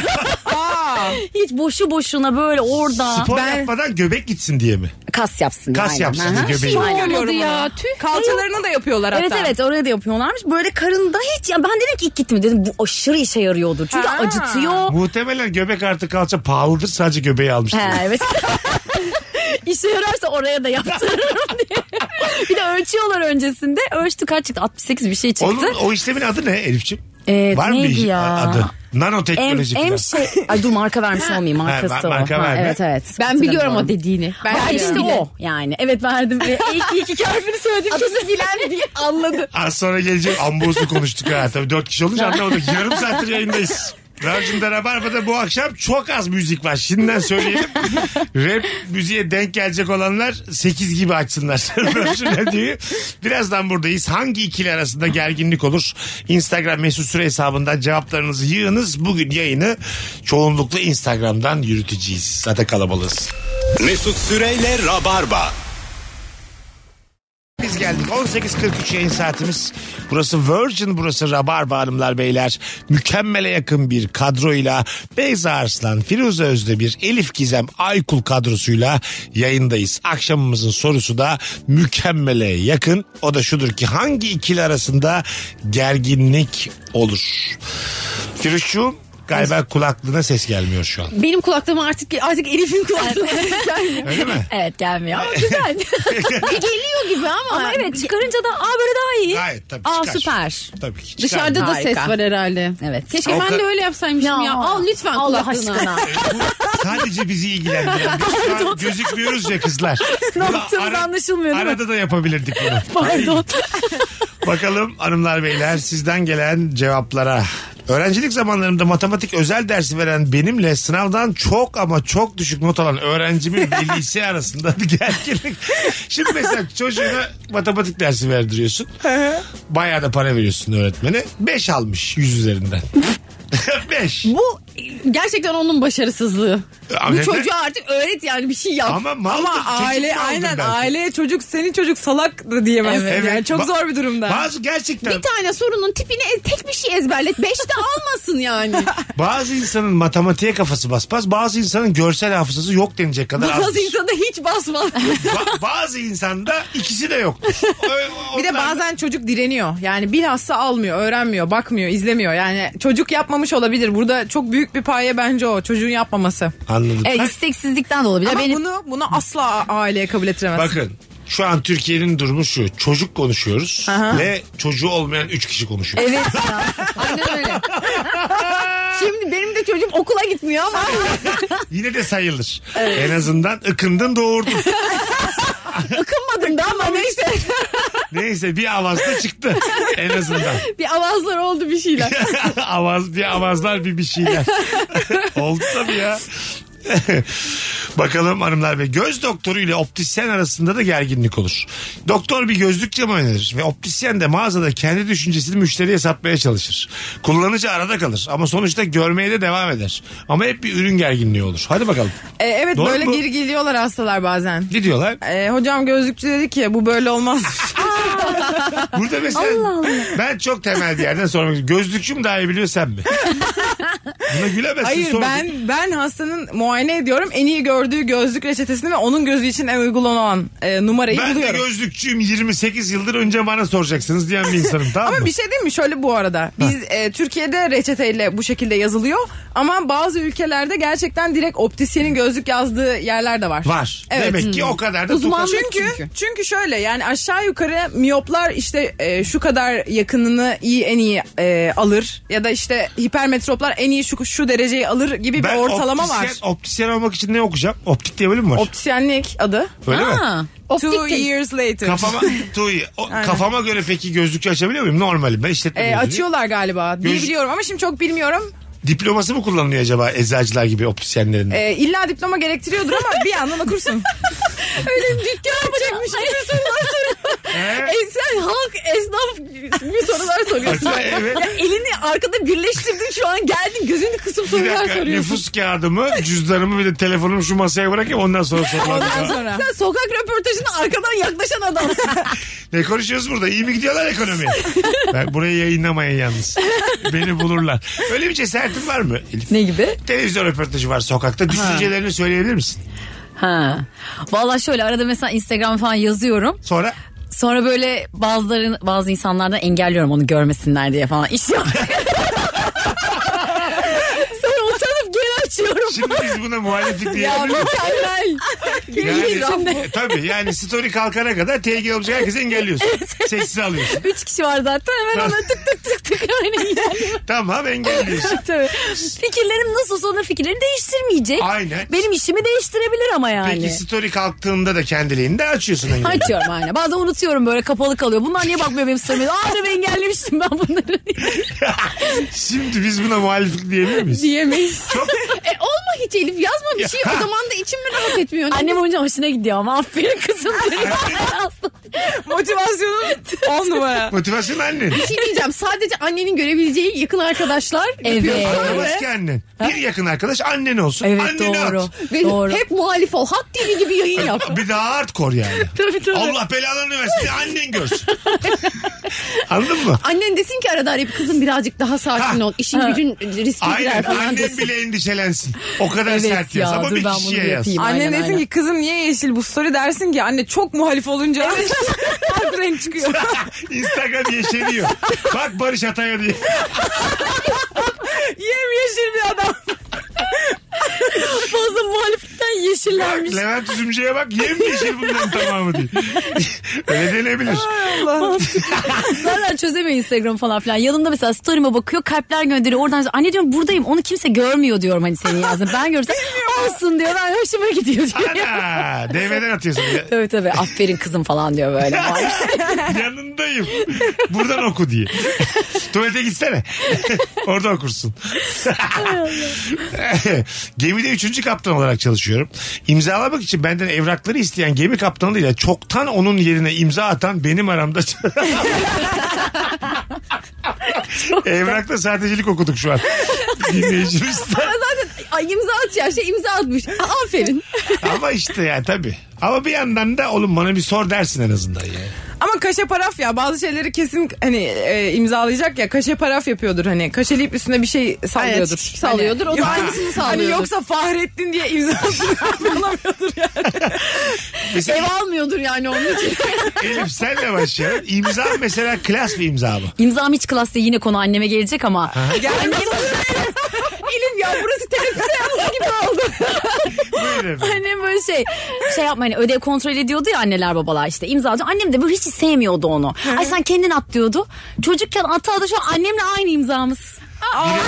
S4: Aa,
S6: Hiç boşu boşuna böyle orada
S3: Spor
S6: ben-
S3: yapmadan göbek gitsin diye mi?
S6: kas yapsın.
S3: Kas
S6: aynen.
S3: yapsın
S6: Aha.
S3: diye göbeği.
S5: Şey
S4: Aynen.
S5: olmadı ya.
S4: Görüyorum
S5: Tüh.
S4: kalçalarını da yapıyorlar hatta.
S6: Evet evet oraya da yapıyorlarmış. Böyle karında hiç ya ben dedim ki ilk gittim dedim bu aşırı işe yarıyordur. Çünkü
S4: Ha.
S6: acıtıyor.
S3: Muhtemelen göbek artı kalça pahalıdır sadece göbeği almıştır.
S6: He, evet. İşe yararsa oraya da yaptırırım diye. Bir de ölçüyorlar öncesinde. Ölçtü kaç çıktı? 68 bir şey çıktı.
S3: Onun, o işlemin adı ne Elif'ciğim?
S6: Ee,
S3: Var mı
S6: neydi
S3: bir
S6: ya?
S3: adı?
S6: Em,
S3: Nanoteknoloji
S6: em
S3: falan.
S6: şey. Ay dur marka vermiş olmayayım markası
S3: Ha,
S6: o.
S3: marka
S6: Ha,
S3: verme.
S6: evet evet.
S5: Ben biliyorum o
S6: Hatırlamıyorum.
S5: dediğini. Ben,
S6: Ben
S5: biliyorum.
S6: işte o yani. Evet verdim. Ee, ilk, ilk iki harfini söyledim. Kesin bilen diye anladı.
S3: Az sonra gelecek ambozlu konuştuk ha. Tabii dört kişi olunca anlamadık. Yarım saattir yayındayız. Virgin'de Rabarba'da bu akşam çok az müzik var. Şimdiden söyleyelim. Rap müziğe denk gelecek olanlar 8 gibi açsınlar. Virgin Radio'yu. Birazdan buradayız. Hangi ikili arasında gerginlik olur? Instagram mesut süre hesabından cevaplarınızı yığınız. Bugün yayını çoğunlukla Instagram'dan yürüteceğiz. Zaten kalabalığız.
S2: Mesut Süreyle Rabarba.
S3: Biz geldik 18.43 yayın saatimiz. Burası Virgin, burası Rabarba hanımlar beyler. Mükemmele yakın bir kadroyla Beyza Arslan, Firuze Özdemir, Elif Gizem, Aykul kadrosuyla yayındayız. Akşamımızın sorusu da mükemmele yakın. O da şudur ki hangi ikili arasında gerginlik olur? Firuzcuğum galiba kulaklığına ses gelmiyor şu an.
S5: Benim kulaklığıma artık artık Elif'in kulaklığına ses gelmiyor.
S3: Öyle mi?
S6: Evet gelmiyor ama güzel.
S5: Geliyor gibi ama.
S6: ama evet çıkarınca da aa böyle daha iyi.
S3: Gayet tabii
S6: Aa
S3: çıkar.
S6: süper.
S3: Tabii ki. çıkar.
S5: Dışarıda da
S6: Harika.
S5: ses var herhalde.
S6: Evet.
S5: Keşke
S3: O
S5: Şey, ben
S3: ka-
S5: de öyle yapsaymışım ya. Al lütfen
S6: Allah
S5: kulaklığını.
S6: aşkına.
S3: Bu sadece bizi ilgilendiren. Biz şu an gözükmüyoruz ya kızlar.
S6: Ne
S3: Bunu
S6: yaptığımız
S3: ara-
S6: anlaşılmıyor değil mi?
S3: Arada da yapabilirdik bunu.
S6: Pardon.
S3: Bakalım hanımlar beyler sizden gelen cevaplara. Öğrencilik zamanlarımda matematik özel dersi veren benimle sınavdan çok ama çok düşük not alan öğrencimin velisi arasında bir gerginlik. Şimdi mesela çocuğuna matematik dersi verdiriyorsun. Bayağı da para veriyorsun öğretmene. 5 almış yüz üzerinden. 5.
S5: Bu gerçekten onun başarısızlığı.
S3: Ama-
S5: Bu çocuğa artık öğret yani bir şey yap.
S3: Ama mal
S4: Ama aile aynen aileye çocuk senin çocuk salak da diyemezsin. Yani çok
S3: Ba-
S4: zor bir durumda.
S3: Bazı gerçekten
S5: Bir tane sorunun tipini e- tek bir şey ezberlet. Beş de almasın yani.
S3: bazı insanın matematiğe kafası basmaz. Bazı insanın görsel hafızası yok denecek kadar az.
S5: Bazı insana hiç basmaz.
S3: bazı insanda ikisi de yoktur. Ö-
S4: bir de
S3: onlar-
S4: bazen çocuk direniyor. Yani bilhassa almıyor, öğrenmiyor, bakmıyor, izlemiyor. Yani çocuk yapmamış olabilir. Burada çok büyük büyük bir paye bence o çocuğun yapmaması.
S3: Anladım.
S6: E,
S3: Ha,
S6: isteksizlikten de olabilir.
S4: Ama
S6: Benim
S4: bunu bunu asla aileye kabul ettiremez.
S3: Bakın şu an Türkiye'nin durumu şu. Çocuk konuşuyoruz
S4: Aha.
S3: ve çocuğu olmayan 3 kişi konuşuyor.
S6: Evet ya. Aynen öyle. Şimdi benim de çocuğum okula gitmiyor ama.
S3: Yine de sayılır. En azından ıkındın doğurdun.
S6: Akınmadım da ama neyse.
S3: Neyse bir avazda çıktı en azından.
S6: Bir avazlar oldu bir şeyler.
S3: Avaz bir avazlar bir bir şeyler. Oldu tabii ya. Bakalım hanımlar ve göz doktoru ile optisyen arasında da gerginlik olur. Doktor bir gözlük camı önerir ve optisyen de mağazada kendi düşüncesini müşteriye satmaya çalışır. Kullanıcı arada kalır ama sonuçta görmeye de devam eder. Ama hep bir ürün gerginliği olur. Hadi bakalım.
S4: E, evet
S3: Doğru
S4: böyle
S3: mu?
S4: geri geliyorlar hastalar bazen.
S3: Ne diyorlar?
S4: E, hocam gözlükçü dedi ki bu böyle olmaz.
S3: Burada mesela ben çok temel bir yerden sormak istiyorum. Gözlükçü mü daha iyi biliyor sen mi? Buna gülemezsin.
S4: Hayır
S3: sor.
S4: ben ben hastanın muayene ediyorum. En iyi gördüğü gözlük reçetesini ve onun gözü için en uygun olan e, numarayı
S3: Ben de
S4: buluyorum.
S3: gözlükçüyüm 28 yıldır önce bana soracaksınız diyen bir insanım tamam mı?
S4: Ama bir şey değil mi? Şöyle bu arada. Biz e, Türkiye'de reçeteyle bu şekilde yazılıyor. Ama bazı ülkelerde gerçekten direkt optisyenin gözlük yazdığı yerler de var.
S3: Var.
S4: şey- Evet. Hmm.
S3: Demek ki o kadar da
S6: Uzmanlık
S3: tokat-
S4: Çünkü, çünkü şöyle yani aşağı yukarı miyoplar işte e, şu kadar yakınını iyi en iyi e, alır ya da işte hipermetroplar en iyi şu şu dereceyi alır gibi bir ortalama
S3: optisyen,
S4: var.
S3: Optisyen olmak için ne okuyacağım? Optik diye bölüm mü var?
S4: Optisyenlik adı.
S3: Öyle mi?
S6: Ha, optik
S4: Two
S6: test.
S4: years later.
S3: Kafama, tuy, o- kafama göre peki gözlükçü açabiliyor muyum? Normalim ben işletme
S4: E,
S3: mezunuyum.
S4: açıyorlar galiba diye
S3: Göz-
S4: biliyorum ama şimdi çok bilmiyorum.
S3: Diploması mı kullanılıyor acaba eczacılar gibi optisyenlerin?
S4: E, illa diploma gerektiriyordur ama bir yandan okursun.
S6: Öyle dükkan açacakmış gibi sorular soruyor. E sen halk esnaf gibi sorular soruyorsun.
S3: Acaba evet.
S6: Ya elini arkada birleştirdin şu an geldin gözünü kısıp
S3: Bir
S6: sorular
S3: dakika
S6: soruyorsun.
S3: nüfus kağıdımı, cüzdanımı bir de telefonumu şu masaya bırakayım ondan sonra
S4: Ondan
S3: sorular.
S4: sonra.
S6: Sen sokak röportajına arkadan yaklaşan adamsın.
S3: ne konuşuyoruz burada? İyi mi gidiyorlar ekonomi? ben burayı yayınlamayın yalnız. Beni bulurlar. Öyle bir cesaretin var mı Elif?
S6: ne gibi?
S3: Televizyon röportajı var sokakta. Düşüncelerini söyleyebilir misin?
S6: Ha. Valla şöyle arada mesela Instagram falan yazıyorum.
S3: Sonra
S6: Sonra böyle bazıların bazı insanlardan engelliyorum onu görmesinler diye falan. İş yok. Sonra utanıp geri açıyorum.
S3: şimdi biz buna muhalefet
S6: Ya
S3: diyebilir miyiz?
S6: mükemmel.
S3: Yani,
S6: Geri içinde.
S3: E, tabii yani story kalkana kadar tehlike olacak herkesi engelliyorsun. Sessiz alıyorsun.
S6: Üç kişi var zaten hemen ona tık tık tık tık aynen ilerliyor.
S3: Tamam engelliyorsun.
S6: Tabii. Fikirlerim nasıl sonra fikirleri değiştirmeyecek.
S3: Aynen.
S6: Benim işimi değiştirebilir ama yani.
S3: Peki story kalktığında da kendiliğinde açıyorsun engelli.
S6: Açıyorum aynen. Bazen unutuyorum böyle kapalı kalıyor. Bunlar niye bakmıyor benim story'e? Aa ne ben engellemiştim ben bunları.
S3: Şimdi biz buna muhaliflik diyebilir miyiz?
S6: Diyemeyiz.
S5: E, olma hiç Elif yazma bir şey o zaman da içim mi rahat etmiyor.
S6: Annem oyunca hoşuna gidiyor ama aferin kızım.
S4: Motivasyonun on numara.
S3: Motivasyon annen.
S5: Bir şey diyeceğim sadece annenin görebileceği yakın arkadaşlar
S6: Evet.
S5: yapıyor.
S3: Aramaz ki annen. Bir yakın arkadaş annen olsun.
S6: evet
S3: Anneni
S6: doğru.
S3: at.
S5: Ve
S6: Doğru.
S5: hep muhalif ol. Hak TV gibi yayın yap.
S3: Bir daha hardcore yani.
S5: tabii tabii.
S3: Allah belalarını versin. Bir Annen görsün. Anladın mı?
S5: Annen desin ki arada arayıp kızım birazcık daha sakin ol. İşin gücün riske
S3: Aynen
S5: girer falan
S3: annem
S5: desin.
S3: bile endişelensin. O kadar
S6: Evet
S3: sert yaz
S6: ya,
S3: ama
S6: dur
S3: bir
S6: ben
S3: kişiye
S6: bunu
S3: yaz.
S6: yapayım.
S4: Annen
S6: Aynen,
S4: desin
S6: aynen.
S4: ki kızım niye yeşil bu story dersin ki anne çok muhalif olunca farklı renk çıkıyor.
S3: Instagram yeşeriyor. Bak Barış Atay'a diye.
S4: Yem yeşil bir adam.
S6: Fazla muhaliflikten yeşillenmiş.
S3: Levent Üzümcü'ye bak yemyeşil bunların tamamı diye. Öyle denebilir.
S6: Zaten çözemiyor Instagram falan filan. Yanımda mesela story'me bakıyor kalpler gönderiyor. Oradan anne diyorum buradayım onu kimse görmüyor diyorum hani senin yazdın. Ben görsem olsun diyor ben hoşuma gidiyor diyor.
S3: Ana, DM'den atıyorsun. Ya-
S6: tabii tabii aferin kızım falan diyor böyle.
S3: Yanındayım. Buradan oku diye. Tuvalete gitsene. Orada okursun. Gemide üçüncü kaptan olarak çalışıyorum. İmzalamak için benden evrakları isteyen gemi kaptanıyla çoktan onun yerine imza atan benim aramda. Evrakta sahtecilik okuduk şu an. Dinleyicimizden.
S5: Zaten ay, imza atacağı şey imza atmış. Aa, Aferin.
S3: Ama işte yani tabii. Ama bir yandan da oğlum bana bir sor dersin en azından yani.
S4: Ama kaşe paraf ya bazı şeyleri kesin hani e, imzalayacak ya kaşe paraf yapıyordur hani kaşeleyip üstüne bir şey sallıyordur.
S5: Evet, sallıyordur. O da aynısını
S4: Hani
S5: sallıyordur.
S4: yoksa Fahrettin diye imzasını alamıyordur yani.
S5: Ev almıyordur yani onun için.
S3: Elif senle başlayalım. İmza mesela klas bir imza mı?
S5: Hani
S6: İmzam hiç klasta yine konu anneme gelecek ama.
S4: Gelmez olur.
S5: Elif ya
S3: Buyurun efendim.
S6: Annem böyle şey şey yapma hani ödev kontrol ediyordu ya anneler babalar işte imza atıyor. Annem de böyle hiç sevmiyordu onu. Ay sen kendin at diyordu. Çocukken atı adı şu an annemle aynı imzamız. Annemle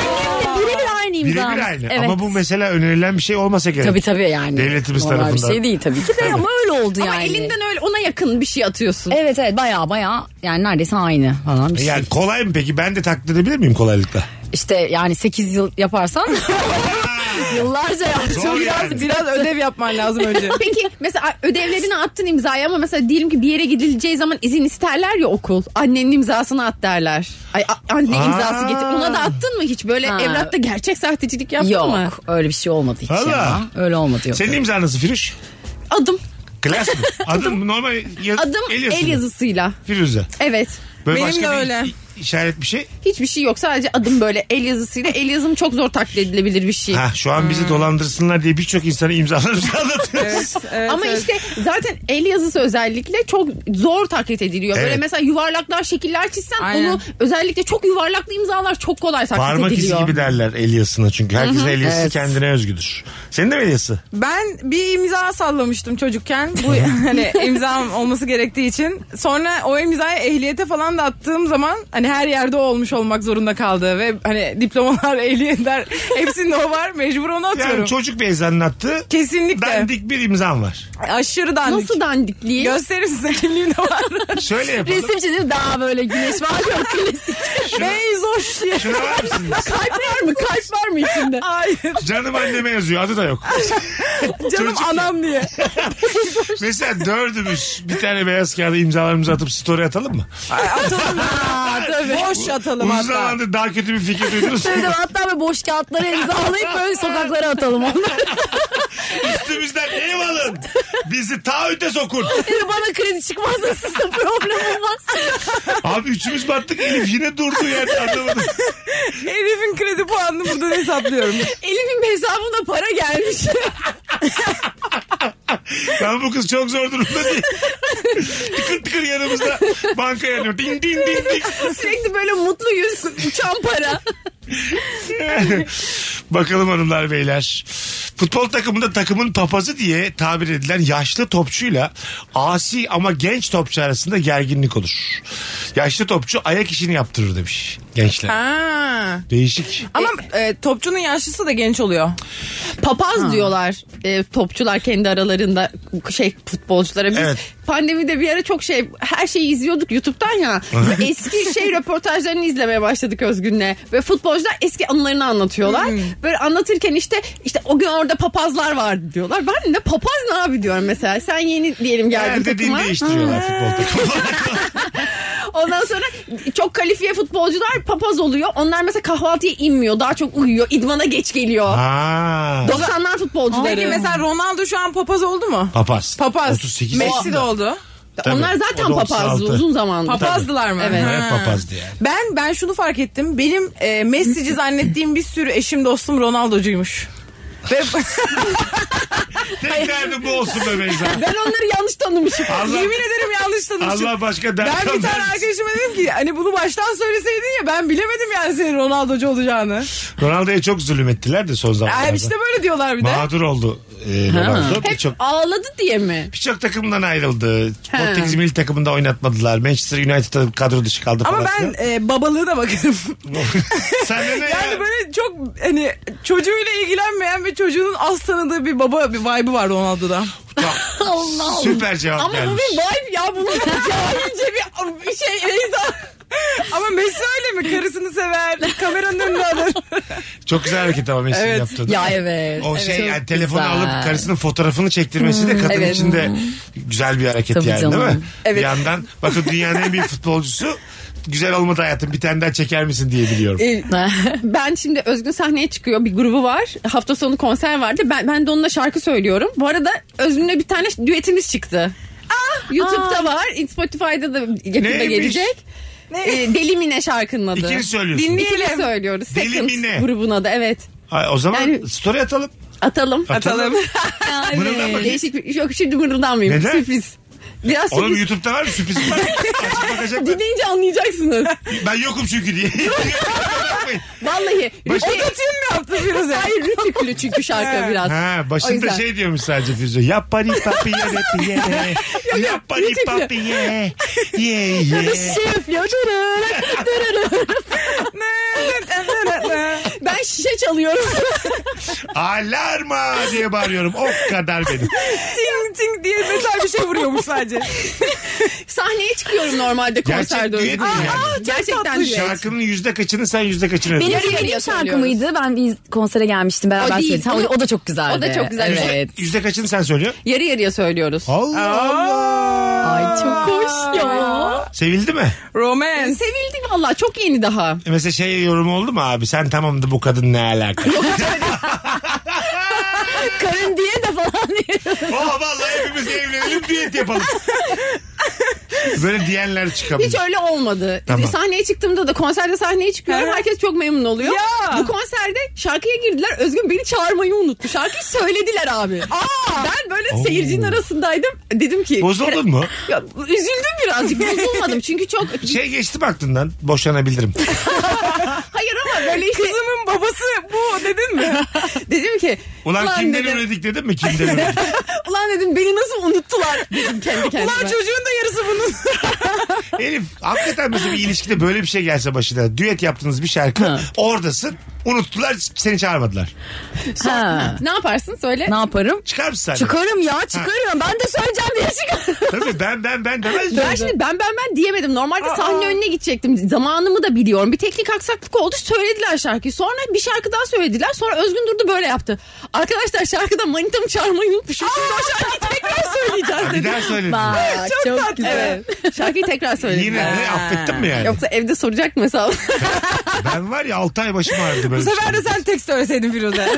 S6: birebir aynı imzamız.
S3: Birebir aynı.
S6: Evet.
S3: Ama bu mesela önerilen bir şey olmasa gerek.
S6: Tabii tabii yani.
S3: Devletimiz
S6: Normal
S3: tarafından.
S6: bir şey değil tabii ki de ama öyle oldu
S5: Ama
S6: yani.
S5: elinden öyle ona yakın bir şey atıyorsun.
S6: Evet evet baya baya yani neredeyse aynı falan bir şey.
S3: Yani kolay mı peki? Ben de taklit edebilir miyim kolaylıkla?
S6: İşte yani 8 yıl yaparsan yıllarca yaptım.
S3: Zor yani.
S4: Biraz, biraz ödev yapman lazım önce.
S5: Peki mesela ödevlerini attın imzayı ama mesela diyelim ki bir yere gidileceği zaman izin isterler ya okul. Annenin imzasını at derler. Ay a- anne
S3: Aa.
S5: imzası getir. Ona da attın mı hiç? Böyle
S6: Ha.
S5: evlatta gerçek sahtecilik yaptın
S6: Yok
S5: mı?
S6: öyle bir şey olmadı hiç
S3: Valla.
S6: ya. Öyle olmadı yok.
S3: Senin imzan nasıl Firuş?
S5: Adım.
S3: Klas mı? Adım mı? normal yaz-
S5: Adım el,
S3: yazısı mı?
S5: yazısıyla.
S3: Firuze.
S5: Evet.
S3: Böyle
S4: Benim
S3: başka
S4: de
S3: bir
S4: öyle.
S3: i- işaret bir şey.
S5: Hiçbir şey yok. Sadece adım böyle el yazısıyla. El yazım çok zor taklit edilebilir bir şey.
S3: Ha, şu an bizi dolandırsınlar diye birçok insana imzalarımızı anlatıyoruz.
S4: Evet, evet,
S5: Ama
S4: evet.
S5: işte zaten el yazısı özellikle çok zor taklit ediliyor. Böyle
S3: Evet.
S5: mesela yuvarlaklar, şekiller çizsen
S4: Aynen.
S5: onu özellikle çok yuvarlaklı imzalar çok kolay taklit
S3: Parmak izi
S5: ediliyor.
S3: gibi derler Elias'ına çünkü. Herkesin Elias'ı
S6: Evet.
S3: kendine özgüdür. Senin de mi Elias'ı?
S4: Ben bir imza sallamıştım çocukken. Bu hani imzam olması gerektiği için. Sonra o imzayı ehliyete falan da attığım zaman hani her yerde o olmuş olmak zorunda kaldı ve hani diplomalar, ehliyetler hepsinde o var. Mecbur onu atıyorum.
S3: Yani çocuk bir ezanın attı.
S4: Kesinlikle.
S3: Dandik bir imzam var.
S4: Aşırı dandik.
S5: Nasıl dandikliği?
S4: Gösterir size kimliğim de var.
S3: Şöyle yapalım.
S6: Resim çizim daha böyle güneş var yok klasik.
S4: Beyzoş diye.
S3: Şuna var mısınız?
S5: Kalp var mı? Kalp var mı içinde?
S4: Hayır.
S3: Canım anneme yazıyor adı da yok.
S4: Canım
S3: Çocuk ya.
S4: anam diye.
S3: Mesela dördümüz bir tane beyaz kağıda imzalarımızı atıp story atalım mı?
S4: Ay, Atalım. Boş atalım
S3: Uzun
S4: hatta.
S3: zamandır daha kötü bir fikir duydunuz mu?
S6: Tabii tabii. hatta böyle boş kağıtları imzalayıp böyle sokaklara atalım onları.
S3: Üstümüzden ev alın. Bizi ta öte sokun.
S6: Dedi, Bana kredi çıkmazsa sizin problem olmaz.
S3: Abi üçümüz battık Elif yine durdu yerde anlamadım.
S4: Herifin kredi puanını buradan hesaplıyorum.
S5: Elif'in bir hesabına para gelmiş.
S3: Ben bu kız çok zor durumda değil. tıkır tıkır yanımızda banka yanıyor. Ding ding ding ding.
S5: Sürekli böyle mutlu yüz, uçan para.
S3: Bakalım hanımlar beyler. Futbol takımında takımın papazı diye tabir edilen yaşlı topçuyla asi ama genç topçu arasında gerginlik olur. Yaşlı topçu ayak işini yaptırır demiş gençler.
S4: Ha.
S3: Değişik.
S4: Ama e, topçunun yaşlısı da genç oluyor.
S5: Papaz diyorlar e, topçular kendi aralarında şey futbolculara. Biz
S3: Evet.
S5: pandemide bir ara çok şey her şeyi izliyorduk YouTube'dan ya. eski şey röportajlarını izlemeye başladık Özgün'le. Ve futbolcular eski anılarını anlatıyorlar.
S3: Hmm.
S5: Böyle anlatırken işte işte o gün orada papazlar vardı diyorlar. Ben de papaz ne abi diyorum mesela. Sen yeni diyelim geldin
S3: Her dediğini
S5: takıma.
S3: değiştiriyorlar futbol takımı.
S5: Ondan sonra çok kalifiye futbolcular papaz oluyor. Onlar mesela kahvaltıya inmiyor. Daha çok uyuyor. İdmana geç geliyor.
S3: Aa.
S5: 90'lar futbolcuları.
S4: Peki mesela Ronaldo şu an papaz oldu mu?
S3: Papaz.
S4: Papaz.
S3: 38
S4: Messi
S3: yaşında.
S4: de oldu.
S3: Tabii.
S5: Onlar
S3: O
S5: zaten
S3: da 36.
S5: papazdı uzun zamandır.
S4: Papazdılar mı?
S5: Evet.
S4: Ha.
S3: Evet papazdı yani.
S4: Ben ben şunu fark ettim. Benim e, Messi'ci zannettiğim bir sürü eşim dostum Ronaldo'cuymuş. Ve
S3: Tek derdim bu olsun be Beyza.
S5: Ben onları yanlış tanımışım.
S3: Allah,
S4: yemin ederim yanlış tanımışım.
S3: Allah başka
S4: ben
S3: dert
S4: bir tane
S3: vermesin.
S4: arkadaşıma dedim ki hani bunu baştan söyleseydin ya ben bilemedim yani senin Ronaldo'cu olacağını.
S3: Ronaldo'ya çok zulüm ettiler de son zamanlarda.
S4: Yani işte böyle diyorlar bir de.
S3: Mağdur oldu e, Ronaldo.
S5: Hep
S3: Birçok
S5: ağladı diye mi?
S3: birçok takımdan ayrıldı.
S5: Ha.
S3: Portekiz milli takımında oynatmadılar. Manchester United'da kadro dışı kaldı
S4: Ama
S3: falan.
S4: ben e, babalığına bakarım.
S3: Sen de ne
S4: yani
S3: ya?
S4: böyle çok hani çocuğuyla ilgilenmeyen ve çocuğunun az tanıdığı bir baba bir vibe'ı var Ronaldo'da.
S3: Tamam.
S5: Allah
S3: Süper cevap
S5: Ama bu
S3: gelmiş.
S5: bir vibe ya. Bunu cahilce bir, bir şey.
S4: Ama Messi öyle mi? Karısını sever, kameranın önüne alır.
S3: Çok güzel hareket ama Messi'nin
S4: Evet.
S3: yaptığı.
S6: Ya evet.
S3: O
S6: evet.
S3: şey yani
S6: Çok
S3: telefonu
S6: güzel.
S3: alıp karısının fotoğrafını çektirmesi de kadın
S6: Evet.
S3: için de güzel bir hareket
S6: Tabii
S3: yani değil mi?
S6: canım.
S3: Bir yandan bakın dünyanın en büyük futbolcusu güzel olmadı hayatım bir tane daha çeker misin diye
S5: E-
S3: biliyorum.
S5: ben şimdi Özgün sahneye çıkıyor. Bir grubu var. Hafta sonu konser vardı. Ben, ben de onunla şarkı söylüyorum. Bu arada Özgün'le bir tane düetimiz çıktı. YouTube'da var. Spotify'da da yakında
S3: Neymiş?
S5: gelecek. Ee, Deli Mine şarkının adı.
S3: İkini söylüyorsun.
S5: İkili söylüyoruz.
S3: Deli
S5: Seconds
S3: Mine.
S5: grubun adı evet.
S3: Ay, o zaman
S5: Yani-
S3: story atalım.
S5: Atalım.
S3: Atalım. Mırıldanma.
S5: Değişik bir yok şimdi mırıldanmayayım.
S3: Neden?
S5: Sürpriz. Biraz
S3: Oğlum
S5: sürpriz.
S3: YouTube'da var mı sürpriz var mı? Açıp bakacak mı?
S5: Dinleyince anlayacaksınız.
S3: Ben yokum çünkü diye. Yapmayın.
S5: Vallahi.
S3: Baş-
S5: Rütük-
S4: O kötüyü mü yaptı Firuze?
S5: Hayır rütüklü çünkü şarkı biraz.
S3: Ha,
S5: O
S3: başında
S5: yüzden.
S3: şey diyormuş sadece Firuze. Yapari papi ye papi ye. Yapari
S5: ritimli.
S3: papi ye. Ye ye.
S5: Şey yapıyor. dırırır, dırırır. ben şişe çalıyorum.
S3: Alarma diye bağırıyorum. O kadar benim.
S4: ting ting diye metal bir şey vuruyormuş sadece.
S5: Sahneye çıkıyorum normalde
S3: Gerçek
S5: konserde.
S3: düet mi yani?
S5: Aa, Gerçekten
S4: tatlı.
S5: düet.
S3: Şarkının yüzde kaçını sen yüzde kaçını
S6: Benim
S5: Yarı
S6: söylediğim
S5: yarıya
S6: şarkı
S5: söylüyoruz.
S6: mıydı? Ben bir konsere gelmiştim beraber
S5: değil,
S6: söyledim. Ha,
S5: ama-
S6: O, o da çok güzeldi.
S5: O da çok güzeldi.
S6: Evet.
S3: Yüzde kaçını sen söylüyorsun?
S5: Yarı yarıya söylüyoruz.
S3: Allah Allah.
S6: Ay çok hoş ya.
S3: Sevildi mi?
S4: Romance.
S5: Sevildi valla çok yeni daha.
S3: E Mesela şey yorum oldu mu abi? Sen tamam da bu kadın ne alaka?
S6: Karın diye de falan diye.
S3: oh vallahi hepimiz evlenelim diyet yapalım. Böyle diyenler çıkabilir.
S5: Hiç öyle olmadı. E,
S3: Tamam.
S5: Sahneye çıktığımda da konserde sahneye çıkıyorum.
S4: Hı hı.
S5: Herkes çok memnun oluyor.
S4: Ya.
S5: Bu konserde şarkıya girdiler. Özgün beni çağırmayı unuttu. Şarkıyı söylediler abi. Ben böyle
S3: Oo.
S5: seyircinin arasındaydım. Dedim ki
S3: Bozuldun mu?
S5: Ya, üzüldüm birazcık. Bozulmadim çünkü çok
S3: Şey geçtim aklından boşanabilirim.
S5: hayır ama böyle işte
S4: Kızımın babası bu dedin mi?
S5: dedim ki
S3: Ulan, kimden
S5: dedim,
S3: üredik dedim mi? Kimden üredik?
S5: ulan dedim beni nasıl unuttular dedim kendi kendime.
S4: Ulan çocuğun da yarısı bunun.
S3: Elif hakikaten mesela bir ilişkide böyle bir şey gelse başına. Düet yaptığınız bir şarkı oradasın. Unuttular seni çağırmadılar.
S6: Ha.
S5: Ne yaparsın söyle.
S6: şey. Ne yaparım?
S3: Çıkar mısın sen?
S6: Çıkarım ya çıkarım. Ben de söyleyeceğim diye çıkarım.
S3: Tabii ben ben ben demez
S5: Ben
S3: misin?
S5: şimdi ben ben ben diyemedim. Normalde sahne önüne gidecektim. Zamanımı da biliyorum. Bir teknik aksaklık oldu. Söylediler şarkıyı. Sonra bir şarkı daha söylediler. Sonra Özgün durdu böyle yaptı. Arkadaşlar şarkıda manitamı çağırmayı unutmuşum. Şimdi o şarkıyı tekrar söyleyeceğiz
S3: Bir
S5: dedi.
S3: daha söyledim.
S6: Bak, çok, güzel.
S5: Evet. Şarkıyı tekrar söylediler.
S3: Yine ne affettin mi yani?
S5: Yoksa evde soracak mı mesela?
S3: Ben var ya 6 ay başım ağrıdı
S4: Bu
S3: böyle.
S4: sefer de sen tek söyleseydin Firuze.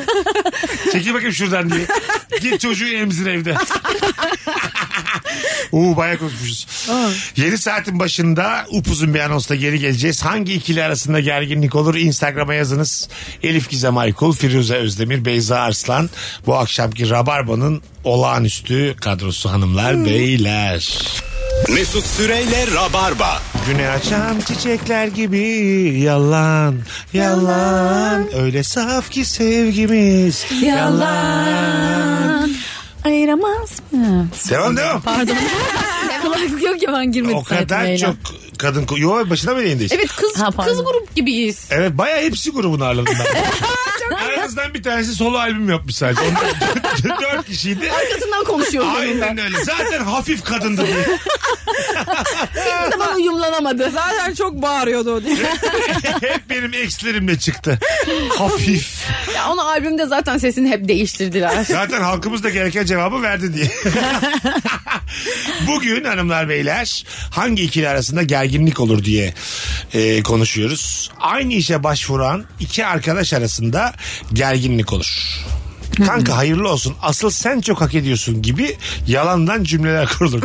S3: Çekil bakayım şuradan diye. Git çocuğu emzir evde. Uuu bayağı konuşmuşuz. Yeni saatin başında upuzun bir anonsla geri geleceğiz. Hangi ikili arasında gerginlik olur? Instagram'a yazınız. Elif Gizem Aykul, Firuze Özdemir, Beyza Arslan. Bu akşamki Rabarba'nın olağanüstü kadrosu hanımlar, beyler.
S2: Mesut Süreyle Rabarba.
S3: Güne açan çiçekler gibi yalan, yalan. Öyle saf ki sevgimiz yalan.
S6: Ayıramaz mı?
S3: Devam devam.
S6: Pardon. Kulaklık yok ya ben girmedim.
S3: O kadar çok kadın... ko- Yo başına mı yayındayız? Evet.
S5: evet kız
S6: Ha, pardon.
S5: kız grup gibiyiz.
S3: Evet bayağı hepsi grubunu ağırladım ben. Aranızdan bir tanesi solo albüm yapmış sadece. Onlar dört kişiydi.
S5: Arkasından konuşuyoruz.
S3: Aynen öyle. Zaten hafif kadındı diye.
S5: Tamam uyumlanamadı.
S4: Zaten çok bağırıyordu o diye.
S3: Hep benim ekslerimle çıktı. Hafif.
S5: Ya onu albümde zaten sesini hep değiştirdiler.
S3: Zaten halkımız da gereken cevabı verdi diye. Bugün hanımlar beyler hangi ikili arasında gerginlik olur diye e, konuşuyoruz. Aynı işe başvuran iki arkadaş arasında gerginlik olur. Kanka hayırlı olsun asıl sen çok hak ediyorsun gibi yalandan cümleler kurulur.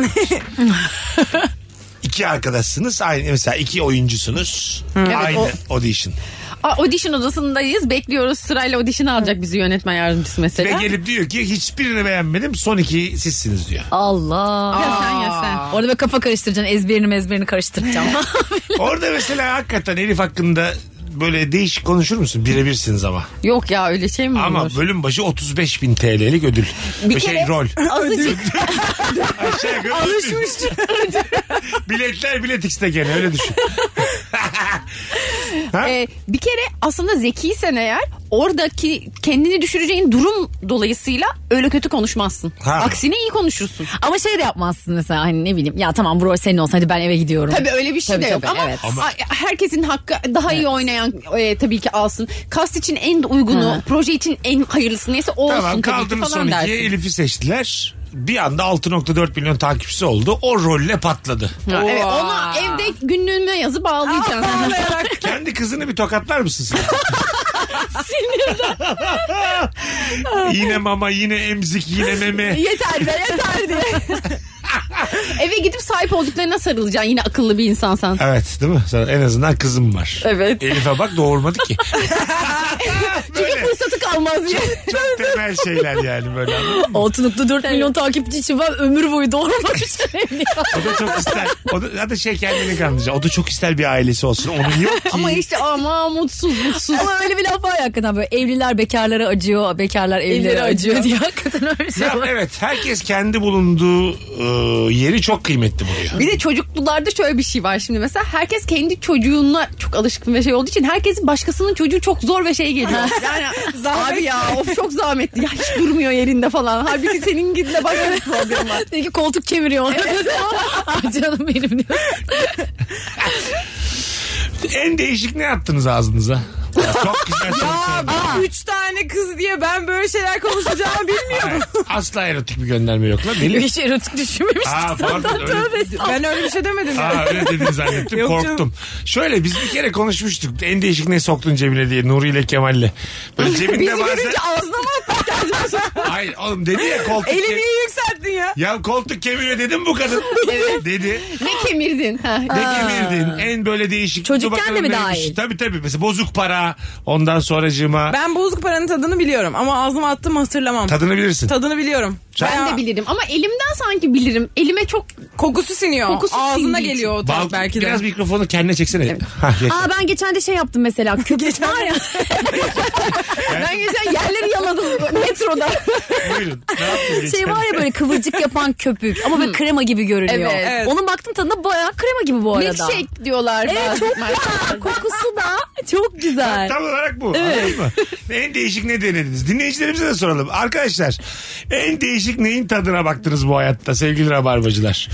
S3: iki arkadaşsınız aynı mesela iki oyuncusunuz aynı
S5: Evet,
S3: audition.
S5: Aa, audition odasındayız. Bekliyoruz. Sırayla audition'a alacak bizi yönetmen yardımcısı
S3: Ve
S5: mesela.
S3: gelip diyor ki hiçbirini beğenmedim son iki sizsiniz diyor.
S6: Allah.
S5: Ya sen ya sen.
S6: Orada böyle kafa karıştıracaksın. Ezberini mezberini karıştıracağım.
S3: Orada mesela hakikaten Elif hakkında böyle değişik konuşur musun? Birebirsiniz ama.
S5: Yok ya öyle şey mi
S3: Ama
S5: olur?
S3: bölüm başı 35 bin TL'lik ödül. Bir, şey rol.
S5: Azıcık
S3: Aşağı yukarı
S4: Alışmış.
S3: Biletler bilet X'te gene öyle düşün. Ha?
S5: e, bir kere aslında zekiysen eğer oradaki kendini düşüreceğin durum dolayısıyla öyle kötü konuşmazsın.
S3: Ha.
S5: Aksine iyi konuşursun.
S6: Ama şey de yapmazsın mesela hani ne bileyim. Ya tamam bu rol senin olsun hadi ben eve gidiyorum.
S5: Tabii öyle bir şey
S6: Tabii,
S5: de yok
S6: tabii,
S5: ama,
S6: evet.
S5: a- herkesin hakkı daha iyi oynayan e, tabii ki alsın. Kast için en uygunu, proje için en hayırlısı neyse o
S3: Tamam
S5: olsun tabii ki
S3: kaldınız son
S5: falan
S3: ikiye
S5: dersin.
S3: Elif'i seçtiler. Bir anda 6.4 milyon takipçisi oldu. O rolle patladı.
S5: Ha, evet,
S4: Oha.
S5: ona evde günlüğüme yazı bağlayacaksın.
S4: Ağlayarak.
S3: Kendi kızını bir tokatlar mısın sen? yine mama, yine emzik, yine meme.
S5: yeter be yeter diye. Eve gidip sahip olduklarına sarılacaksın yine akıllı bir insansan.
S3: Evet değil mi? Sana en azından kızım var.
S5: Evet.
S3: Elif'e bak doğurmadı ki.
S5: Çünkü
S3: Böyle.
S5: fırsatı
S6: kalmaz diye.
S3: Çok temel şeyler yani böyle. anladın mı?
S6: Altınlıklı 4 milyon takipçi için ben ömür boyu doğurmak istemiyorum.
S3: O da çok ister. O da, ya da şey kendini kandıracak. O da çok ister bir ailesi olsun. Onun yok ki.
S5: Ama işte ama mutsuz mutsuz.
S6: Ama öyle bir laf var ya hakikaten böyle evliler bekarlara acıyor, bekarlar evlilere
S5: Evlilere
S6: Şey, acıyor.
S5: acıyor.
S6: diye hakikaten öyle şey
S3: Ya
S6: var.
S3: evet herkes kendi bulunduğu e, yeri çok kıymetli buluyor.
S5: Bir de çocuklularda şöyle bir şey var şimdi mesela herkes kendi çocuğuna çok alışkın ve şey olduğu için herkesin başkasının çocuğu çok zor ve şey geliyor. Yani abi ya of çok zahmetli ya hiç durmuyor yerinde falan. Halbuki senin gidinle başka bir problem var.
S6: Dedi ki koltuk kemiriyor ona. Ah canım benim diyor.
S3: En değişik ne attınız ağzınıza? Ya çok güzel soru sordun.
S4: Üç tane kız diye ben böyle şeyler konuşacağımı bilmiyordum.
S3: Evet, Asla erotik bir gönderme yok lan.
S5: şey
S3: Melih.
S6: Hiç erotik düşünmemiştim
S3: Aa, pardon,
S6: zaten.
S3: öyle-
S6: Tövbe estağfurullah.
S4: ben öyle bir şey demedim. ya.
S3: Aa, öyle dedin zannettim
S4: Yok
S3: korktum.
S4: canım.
S3: Şöyle biz bir kere konuşmuştuk. En değişik ne soktun cebine diye Nuri ile Kemal'le. Böyle cebinde
S4: Bizi
S3: bazen...
S4: görünce ağzına mı attın?
S3: Hayır oğlum dedi ya koltuk...
S4: Eli
S3: ke-
S4: niye yükselttin ya?
S3: Ya koltuk kemiriyor dedim bu kadın. Dedi.
S5: Ne kemirdin? Ha.
S3: Ne kemirdin? En böyle değişik. Dur
S6: Çocukken
S3: bakalım
S6: de mi
S3: neymiş.
S6: dahil?
S3: Tabii tabii. Mesela bozuk para. Ondan sonracığıma.
S4: Ben bozuk paranın tadını biliyorum ama ağzıma attım hatırlamam.
S3: Tadını bilirsin.
S4: Tadını biliyorum.
S5: Ben de bilirim ama elimden sanki bilirim. Elime çok
S4: Kokusu siniyor.
S5: Kokusu
S4: Ağzına
S5: sindiği için.
S4: geliyor o tat
S3: Bal-
S4: belki de.
S3: Biraz mikrofonu kendine çeksene. Hah, yeter.
S6: Aa ben geçen de şey yaptım mesela. Köpük var ya. ben geçen yerleri yaladım metroda.
S3: Buyurun. Ne yaptın
S6: şey
S3: geçen?
S6: var ya böyle kıvırcık yapan köpük ama böyle krema gibi görünüyor.
S5: Evet.
S4: Evet.
S6: Onun baktım tadına bayağı krema gibi bu arada.
S5: milkshake diyorlar.
S6: Evet
S5: bazı
S6: çok güzel.
S5: markalarda.
S6: Kokusu da çok güzel.
S3: Tam olarak bu. Anladın mı? En değişik ne denediniz? Dinleyicilerimize de soralım. Arkadaşlar en değişik neyin tadına baktınız bu hayatta sevgili rabarbacılar?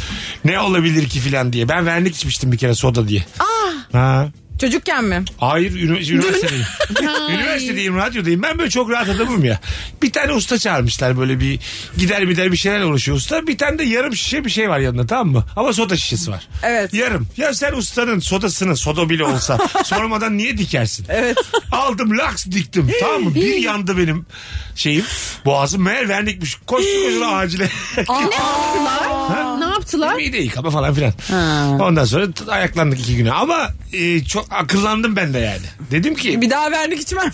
S3: Ne olabilir ki filan diye. Ben vernik içmiştim bir kere soda diye. Aa. Ha.
S4: Çocukken mi?
S3: Hayır ünü- üniversitedeyim. üniversitedeyim radyodayım. Ben böyle çok rahat adamım ya. Bir tane usta çağırmışlar böyle bir gider gider bir şeyler uğraşıyor usta. Bir tane de yarım şişe bir şey var yanında tamam mı? Ama soda şişesi var.
S4: Evet.
S3: Yarım. Ya sen ustanın sodasını soda bile olsa sormadan niye dikersin?
S4: Evet.
S3: Aldım laks diktim tamam mı? Bir yandı benim şeyim boğazım. Meğer vernikmiş. Koştu koştu acile.
S5: Ne yaptılar? Ne yaptılar?
S3: Mide yıkama falan filan. Ondan sonra t- ayaklandık iki güne. Ama e, çok akıllandım ben de yani. Dedim ki
S4: Bir daha verdik içmem.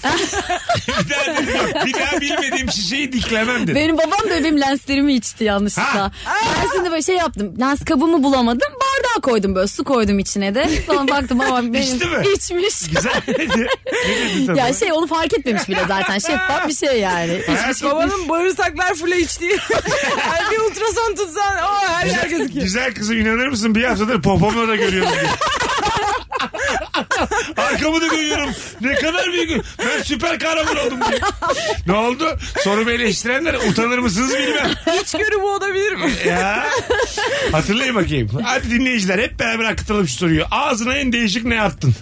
S3: bir daha, dedim, yok, bir daha bilmediğim şişeyi diklemem dedim.
S6: Benim babam da benim lenslerimi içti yanlışlıkla.
S3: Ha.
S6: Ben şimdi böyle şey yaptım. Lens kabımı bulamadım. Bardağa koydum böyle su koydum içine de. Sonra baktım babam benim
S3: İçti mi?
S6: içmiş.
S3: Güzel dedi. Ne dedi tadı?
S6: Ya şey onu fark etmemiş bile zaten. Şeffaf bir şey yani.
S3: Hayatım,
S4: Babanın bağırsaklar full içtiği. Ay bir ultrason tutsan o her yer
S3: güzel,
S4: gözüküyor.
S3: güzel kızım inanır mısın bir haftadır popomla da görüyorum diye. Arkamı da görüyorum. Ne kadar büyük. Ben süper kahraman oldum diye. Ne oldu? Sorumu eleştirenler utanır mısınız bilmem.
S4: Hiç görü bu olabilir mi?
S3: Ya. Hatırlayın bakayım. Hadi dinleyiciler hep beraber akıtalım şu soruyu. Ağzına en değişik ne attın?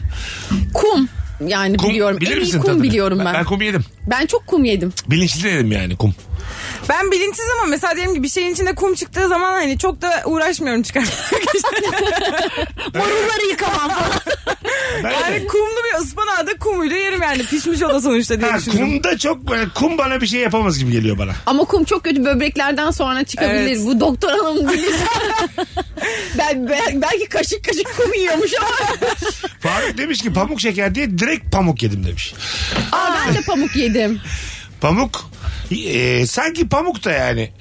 S5: Kum. Yani
S3: Kum,
S5: biliyorum.
S3: bilir
S5: en iyi
S3: misin
S5: kum
S3: tadını?
S5: biliyorum ben.
S3: Ben
S5: Ben,
S3: kum yedim.
S5: çok kum yedim.
S3: Bilinçli dedim yani kum.
S4: Ben bilinçsiz ama mesela diyelim ki bir şeyin içinde kum çıktığı zaman hani çok da uğraşmıyorum çıkartmak için.
S6: Marulları yıkamam falan.
S3: Ben
S4: Yani kumlu bir ıspanağı da kumuyla yerim yani pişmiş o da sonuçta diye
S3: Ha,
S4: düşündüm.
S3: kumda çok böyle kum bana bir şey yapamaz gibi geliyor bana.
S5: Ama kum çok kötü böbreklerden sonra çıkabilir.
S4: Evet.
S5: Bu doktor hanım bilir. ben, ben- belki kaşık kaşık kum yiyormuş ama.
S3: Faruk demiş ki pamuk şeker diye direkt pamuk yedim demiş.
S5: Aa, ben de pamuk yedim.
S3: Pamuk e, sanki pamuk da yani.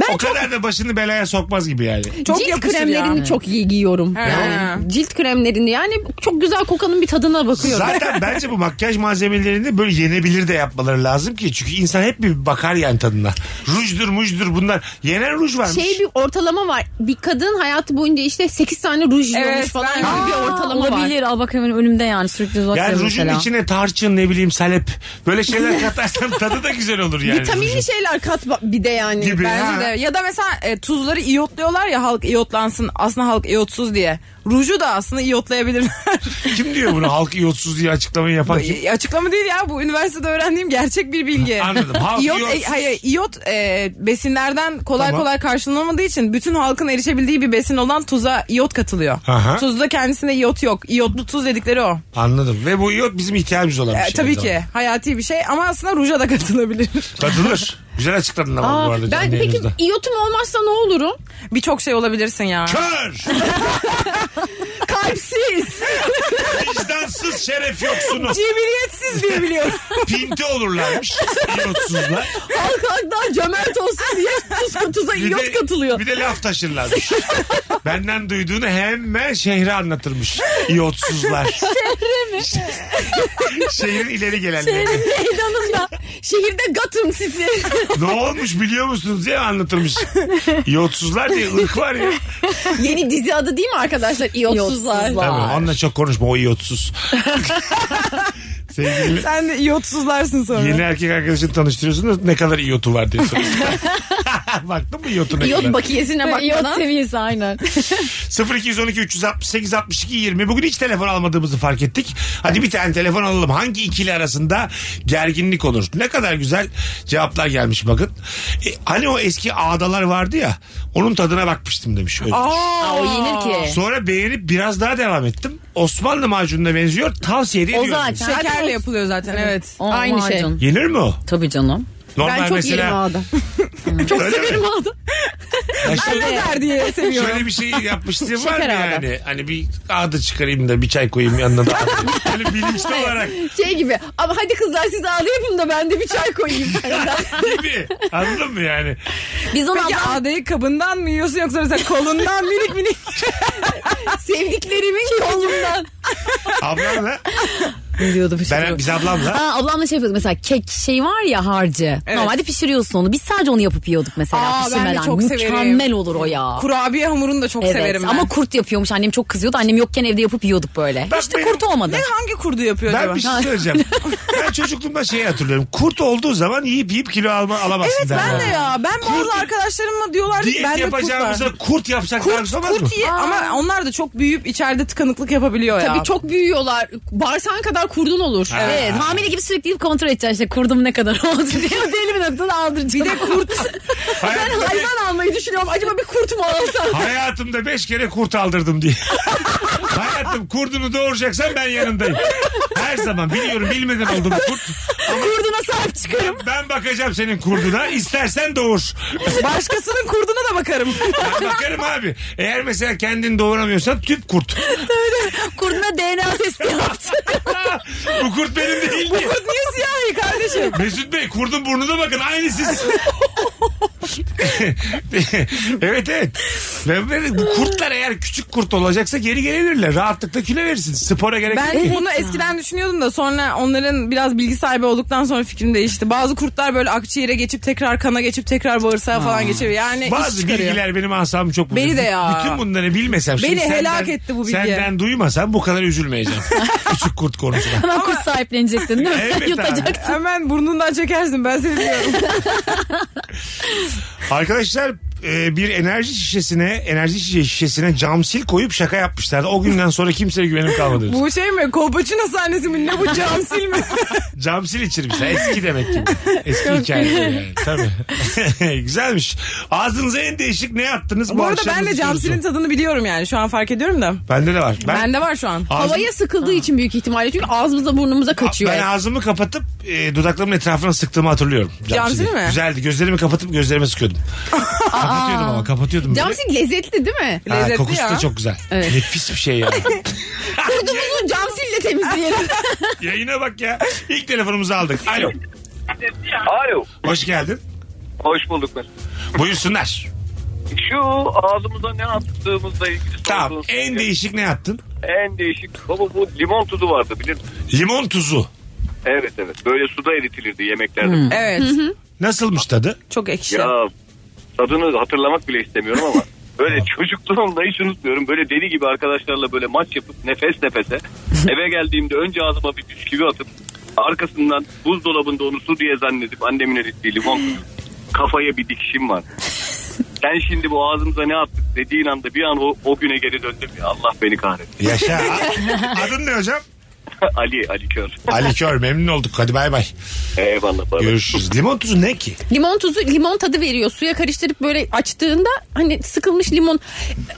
S5: Ben
S3: o kadar da başını belaya sokmaz gibi yani.
S4: Çok
S5: cilt
S4: yapışır
S5: kremlerini
S4: ya.
S5: çok iyi giyiyorum.
S4: He.
S5: Yani cilt kremlerini yani çok güzel kokanın bir tadına bakıyorum.
S3: Zaten bence bu makyaj malzemelerini böyle yenebilir de yapmaları lazım ki. Çünkü insan hep bir bakar yani tadına. Rujdur mujdur bunlar. Yenen ruj varmış.
S5: şey bir ortalama var. Bir kadın hayatı boyunca işte 8 tane ruj yiyormuş
S4: Evet,
S5: falan
S4: ben-
S5: gibi bir ortalama var.
S6: Olabilir. Al bak hemen önümde yani sürekli uzak
S3: yani
S6: duruyor
S3: rujun
S6: mesela.
S3: içine tarçın ne bileyim salep böyle şeyler katarsan tadı da güzel olur yani. rujun.
S5: Vitaminli şeyler kat ba- bir de yani.
S3: Gibi.
S4: Bence
S3: Ha.
S4: de. Ya da mesela e, tuzları iyotluyorlar ya halk iyotlansın. Aslında halk iyotsuz diye. Ruju da aslında iyotlayabilirler.
S3: Kim diyor bunu halk iyotsuz diye açıklamayı yapan kim?
S4: E, Açıklama değil ya bu üniversitede öğrendiğim gerçek bir bilgi.
S3: Anladım. Halk
S4: İyot,
S3: iyot-
S4: e, hayır, iyot e, besinlerden kolay
S3: Tamam.
S4: kolay karşılanamadığı için bütün halkın erişebildiği bir besin olan tuza iyot katılıyor.
S3: Aha.
S4: Tuzda kendisinde iyot yok. İyotlu tuz dedikleri o.
S3: Anladım. Ve bu iyot bizim ihtiyacımız olan bir
S4: E,
S3: şey.
S4: tabii
S3: o zaman.
S4: ki hayati bir şey ama aslında ruja da katılabilir.
S3: Katılır. Güzel açıkladın ama
S5: Aa,
S3: bu arada.
S5: ben
S3: canlı
S5: peki
S3: yayınımızda.
S5: iyotum olmazsa ne olurum?
S4: Birçok şey olabilirsin ya.
S3: Kör!
S5: Kalpsiz.
S3: Namussuz şeref yoksunu.
S4: Cibiliyetsiz diye biliyorum.
S3: Pinti olurlarmış. İyotsuzlar.
S6: Halk halk daha cömert olsun diye tuz, tuza
S3: Bir de-
S6: iot katılıyor.
S3: Bir de laf taşırlarmış. Benden duyduğunu hemen şehre anlatırmış. İyotsuzlar. Şehre mi? Şehrin ileri gelenleri.
S6: Meydanında şehirde Gotham City.
S3: Ne olmuş biliyor musunuz diye anlatırmış. İyotsuzlar diye ırk var ya.
S5: Yeni dizi adı değil mi arkadaşlar? İyotsuzlar.
S6: Yotsuzlar.
S3: Tabii onunla çok konuşma o iyotsuz. Sevgili
S4: Sen de iyotsuzlarsın sonra.
S3: yeni erkek arkadaşını tanıştırıyorsunuz ne kadar iyotu var diye soruyorsun. Baktın mı iyotu ne
S5: İyot
S3: kadar?
S5: bakiyesine
S6: iot
S5: bakmadan.
S6: seviyesi aynen.
S3: 0212 368 62 20. Bugün hiç telefon almadığımızı fark ettik. Hadi bir tane telefon alalım. Hangi ikili arasında gerginlik olur? Ne kadar güzel cevaplar gelmiş bakın. E, hani o eski ağdalar vardı ya. Onun tadına bakmıştım demiş. Özgür.
S6: Aa, o yenir ki.
S3: Sonra beğenip biraz daha devam ettim. Osmanlı macununa benziyor. Tavsiye ediyorum.
S6: Ozan
S4: Şekerle yapılıyor zaten evet.
S6: Aa,
S5: Aynı şey.
S6: macun.
S3: Yenir mi o?
S6: Tabii canım.
S3: Normal
S5: Ben çok yerim ağda.
S3: çok severim
S5: Ağda.
S4: Anneler diye seviyorum.
S3: Şöyle bir şey yapmıştım var mı
S5: Şeker ağda.
S3: yani? Hani bir ağda çıkarayım da bir çay koyayım yanına da. Hani bilinçli olarak
S5: Şey gibi ama hadi kızlar siz ağda yapın da ben de bir çay koyayım.
S3: gibi. Anladın mı yani?
S6: Biz onu
S4: Peki
S6: adam-
S4: ağdayı kabından mı yiyorsun yoksa mesela kolundan minik minik?
S5: Sevdiklerimin kolundan.
S3: Ablamla
S6: Ne diyordu bir şey
S3: ben
S6: yok.
S3: biz ablamla
S6: Aa, ablamla şey yapıyorduk mesela kek şey var ya harcı. Normalde pişiriyorsun onu. Biz sadece onu yapıp yiyorduk mesela
S4: Aa, ben de
S6: pişirmeden.
S4: çok severim.
S6: Mükemmel olur o ya.
S4: Kurabiye hamurunu da çok
S6: evet
S4: severim ben.
S6: ama kurt yapıyormuş annem çok kızıyordu. Annem yokken evde yapıp yiyorduk böyle.
S3: Ben
S6: Hiç de
S3: benim-
S6: kurt olmadı.
S4: ne hangi kurdu yapıyor
S3: ben
S4: acaba?
S3: bir şey söyleyeceğim. ben çocukluğumda şeyi hatırlıyorum. Kurt olduğu zaman yiyip yiyip kilo alma, alamazsın.
S4: Evet ben de
S3: derlerdi.
S4: ya. Ben bazı arkadaşlarımla diyorlardı ki
S3: Diyet
S4: ben de kurt var.
S3: yapacağımıza kurt yapsak
S4: Kurt,
S3: kurt, olmaz mı?
S4: kurt ye- ama onlar da çok büyüyüp içeride tıkanıklık yapabiliyor ya.
S5: Tabii çok büyüyorlar. Bağırsağın kadar kurdun olur.
S6: Evet hamile gibi sürekli gidip kontrol edeceksin işte kurdum ne kadar oldu diye. Belli bir noktada aldıracağım. Bir de kurt.
S3: Hayatımda bir-
S6: almayı düşünüyorum. Acaba bir kurt mu alsam?
S3: Hayatımda beş kere kurt aldırdım diye. Hayatım kurdunu doğuracaksan ben yanındayım. Her zaman biliyorum bilmeden oldum kurt.
S6: Kurduna sahip çıkarım.
S3: Ben bakacağım senin kurduna. İstersen doğur.
S4: Başkasının kurduna da bakarım.
S3: Ben bakarım abi. Eğer mesela kendin doğuramıyorsan tüp kurt.
S6: Kurduna DNA testi yaptı.
S3: Bu kurt benim değil diye.
S4: Kurt niye siyahi kardeşim?
S3: Mesut Bey kurdun burnuna bakın aynı siz. evet evet. Ve böyle bu kurtlar eğer küçük kurt olacaksa geri gelebilirler. Rahatlıkla kilo verirsin. Spora gerek yok.
S4: Ben bunu eskiden düşünüyordum da sonra onların biraz bilgi sahibi olduktan sonra fikrim değişti. Bazı kurtlar böyle akciğere geçip tekrar kana geçip tekrar bağırsağa falan geçiyor. Yani iş
S3: Bazı
S4: çıkarıyor.
S3: bilgiler benim asabımı çok bozuyor.
S4: Beni de ya.
S3: Bütün bunları bilmesem. şimdi
S4: Beni
S3: senden-
S4: helak etti bu bilgi.
S3: Senden duymasam bu kadar üzülmeyeceğim. küçük kurt konusuna.
S6: Hemen kurt sahiplenecektin değil mi?
S3: Evet abi.
S6: Yutacaktın.
S4: Hemen burnundan çekersin ben seni diyorum.
S3: Arkadaşlar e, bir enerji şişesine enerji şişe- şişesine cam sil koyup şaka yapmışlardı. O günden sonra kimseye güvenim kalmadı.
S4: bu şey mi? Kolpaçino sahnesi mi? Ne bu camsil mi?
S3: Camsil içirmişler. Eski demek ki. Eski hikaye. Yani. Tabii. Güzelmiş. Ağzınıza en değişik ne attınız bu,
S4: bu arada
S3: akşam
S4: ben de
S3: sorusu?
S4: camsilin tadını biliyorum yani. Şu an fark ediyorum da.
S3: Bende de var. Ben,
S4: Bende var şu an.
S3: ağzım-
S5: Havaya sıkıldığı için büyük ihtimalle çünkü ağzımıza burnumuza kaçıyor.
S3: Ben ağzımı kapatıp e, dudaklarımın etrafına sıktığımı hatırlıyorum. Camsili.
S4: Camsili mi?
S3: Güzeldi. Gözlerimi kapatıp gözlerime sıkıyordum. kapatıyordum ama kapatıyordum. böyle.
S5: Camsil lezzetli değil mi?
S3: Ha,
S4: lezzetli
S3: kokusu
S4: ya.
S3: da çok güzel. Nefis bir şey ya.
S5: Kurdumuzu camsille temizleyelim.
S3: Yayına bak ya. İlk telefonumuzu aldık. Alo.
S7: Alo.
S3: Hoş geldin.
S7: Hoş bulduk ben. E,
S3: Buyursunlar.
S7: Şu ağzımıza ne attığımızla ilgili
S3: Tamam.
S7: sorduğunuz-
S3: En değişik ne attın?
S7: En değişik. Baba bu limon tuzu vardı bilir misin?
S3: Limon tuzu.
S7: Evet evet. Böyle suda eritilirdi yemeklerde.
S4: Evet.
S3: Nasılmış tadı?
S4: Çok ekşi.
S7: Ya tadını hatırlamak bile istemiyorum ama böyle çocukluğumda hiç unutmuyorum. Böyle deli gibi arkadaşlarla böyle maç yapıp nefes nefese eve geldiğimde önce ağzıma bir bisküvi atıp arkasından buzdolabında onu su diye zannedip annemin erittiği limon kafaya bir dikişim var. Sen şimdi bu ağzımıza ne attık dediğin anda bir an o, o güne geri döndüm ya Allah beni kahretsin.
S3: Yaşa. Adın ne hocam?
S7: Ali, Ali Kör.
S3: Ali Kör memnun olduk. Hadi bay bay.
S7: Eyvallah. Bay bay.
S3: Görüşürüz. Limon tuzu ne ki?
S5: Limon tuzu limon tadı veriyor. Suya karıştırıp böyle açtığında hani sıkılmış limon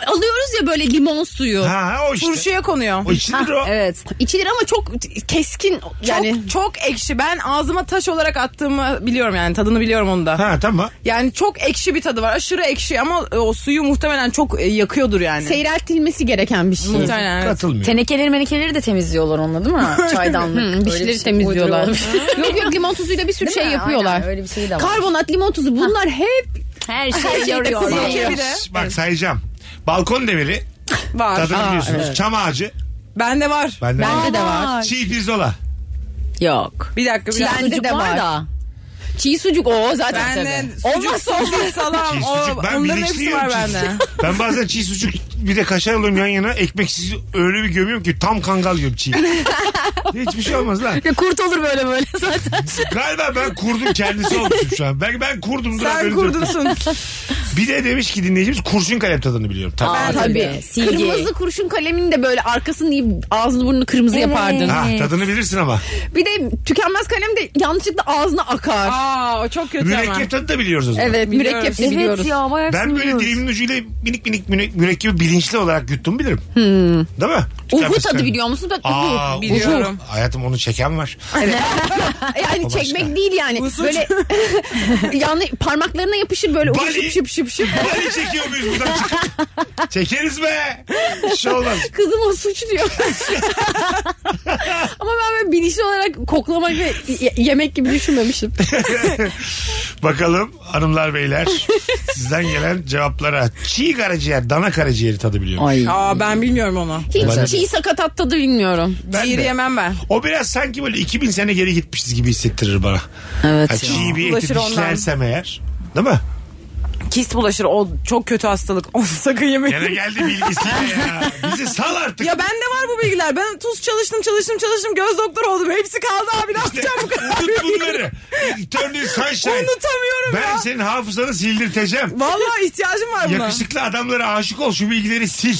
S5: alıyoruz ya böyle limon suyu.
S3: Ha o işte.
S4: Turşuya konuyor.
S3: O içindir o.
S6: Evet.
S5: İçilir ama çok keskin yani.
S4: Yani çok, çok ekşi. Ben ağzıma taş olarak attığımı biliyorum yani. Tadını biliyorum onu da.
S3: Ha tamam.
S4: Yani çok ekşi bir tadı var. Aşırı ekşi ama e, o suyu muhtemelen çok e, yakıyordur yani.
S5: Şey- seyreltilmesi gereken bir şey.
S4: muhtemelen. evet.
S3: Katılmıyor.
S6: Tenekeleri menekeleri de temizliyorlar onunla değil mi? Çaydanlık. Öyle
S5: Hmm,
S6: bir
S5: dişleri
S6: şey
S5: temizliyorlar.
S6: uyduruyorlar.
S5: yok yok limon tuzuyla bir sürü
S6: Değil
S5: şey
S6: mi?
S5: yapıyorlar.
S6: Aynen, öyle bir şey de var.
S5: Karbonat, limon tuzu bunlar hep
S6: Her şey
S5: şeyde
S6: yarıyorlar.
S5: kullanılıyor.
S4: Bir de
S3: Bak sayacağım. Balkon demiri.
S4: var.
S3: Tadını
S4: Aa,
S3: biliyorsunuz. Çam ağacı.
S4: Bende var.
S3: Bende var.
S5: de var.
S3: Çiğ pirzola.
S6: Yok.
S4: Bir dakika bir dakika.
S5: Bende
S6: Sucuk
S5: de var.
S6: da.
S5: Çiğ sucuk o zaten.
S4: Bende
S5: tabii.
S4: olmazsa olmaz salam.
S3: Çiğ
S4: O,
S3: sucuk. Ben
S4: onların
S3: bilinçli
S4: hepsi var
S3: yiyorum çiğ
S4: bende.
S3: sucuk. Ben bazen çiğ sucuk bir de kaşar alıyorum yan yana. Ekmeksiz öyle bir gömüyorum ki tam kangal yiyorum çiğ. Hiçbir şey olmaz lan.
S6: Ya kurt olur böyle böyle zaten.
S3: Galiba ben kurdum kendisi olmuşum şu an. Ben, ben kurdum. dur
S4: Sen
S3: haberiniz yok.
S4: kurdunsun.
S3: Bir de demiş ki dinleyicimiz kurşun kalem tadını biliyorum. Tabii.
S6: Aa,
S5: Tabii.
S6: Silgi.
S5: Kırmızı kurşun kalemini de böyle arkasını yiyip ağzını burnunu kırmızı
S6: Evet.
S5: yapardın.
S3: Ha,
S6: Evet.
S3: tadını bilirsin ama.
S5: Bir de tükenmez kalem de yanlışlıkla ağzına akar.
S4: Aa o çok kötü ama.
S3: Mürekkep tadı da biliyoruz o zaman.
S5: evet
S4: biliyoruz.
S5: mürekkep de
S6: Evet
S5: biliyoruz.
S6: ya bayağı
S3: Ben böyle
S6: biliyoruz.
S3: dilimin ucuyla minik minik müne- mürekkebi bilinçli olarak yuttum bilirim.
S4: Hmm.
S3: Değil mi?
S5: Uhu
S3: Tükenmez
S5: tadı
S3: kalem.
S5: biliyor musun? Ben
S3: Aa,
S5: uhu.
S4: biliyorum.
S3: uhu. Hayatım onu çeken var.
S5: Yani
S3: O
S5: çekmek
S3: başka.
S5: değil yani.
S4: Usuç.
S5: Böyle yani parmaklarına yapışır böyle uhu
S3: Bali.
S5: şıp şıp şıp şıp.
S3: Hani çekiyor muyuz buradan çıkıp? Çekeriz be. Bir şey olmaz.
S5: Kızım o suç diyor. Ama ben böyle bilinçli olarak koklamak ve y- yemek gibi düşünmemişim.
S3: Bakalım hanımlar beyler sizden gelen cevaplara. Çiğ karaciğer, dana karaciğeri tadı biliyorum.
S6: Ay.
S4: Aa ben bilmiyorum onu.
S3: Ben de-
S5: Hiç çiğ sakatat tadı bilmiyorum.
S3: Ben
S4: Ciğeri
S3: de.
S4: yemem ben.
S3: O biraz sanki böyle 2000 sene geri gitmişiz gibi hissettirir bana.
S6: Evet.
S3: Ha, çiğ bir eti
S4: Ulaşır ondan.
S3: dişlersem eğer. Değil mi?
S4: Kist bulaşır. O çok kötü hastalık. Onu sakın yemeyin.
S3: Gene geldi bilgisiyle ya. Bizi sal artık.
S4: Ya bende var bu bilgiler. Ben tuz çalıştım çalıştım çalıştım göz doktoru oldum. Hepsi kaldı abi ne yapacağım bu kadar
S3: Unut
S4: bilgi?
S3: bunları. Eternal Sunshine.
S4: Unutamıyorum
S3: ben
S4: ya.
S3: senin hafızanı sildirteceğim.
S4: Vallahi ihtiyacım var buna.
S3: Yakışıklı adamlara aşık ol şu bilgileri sil.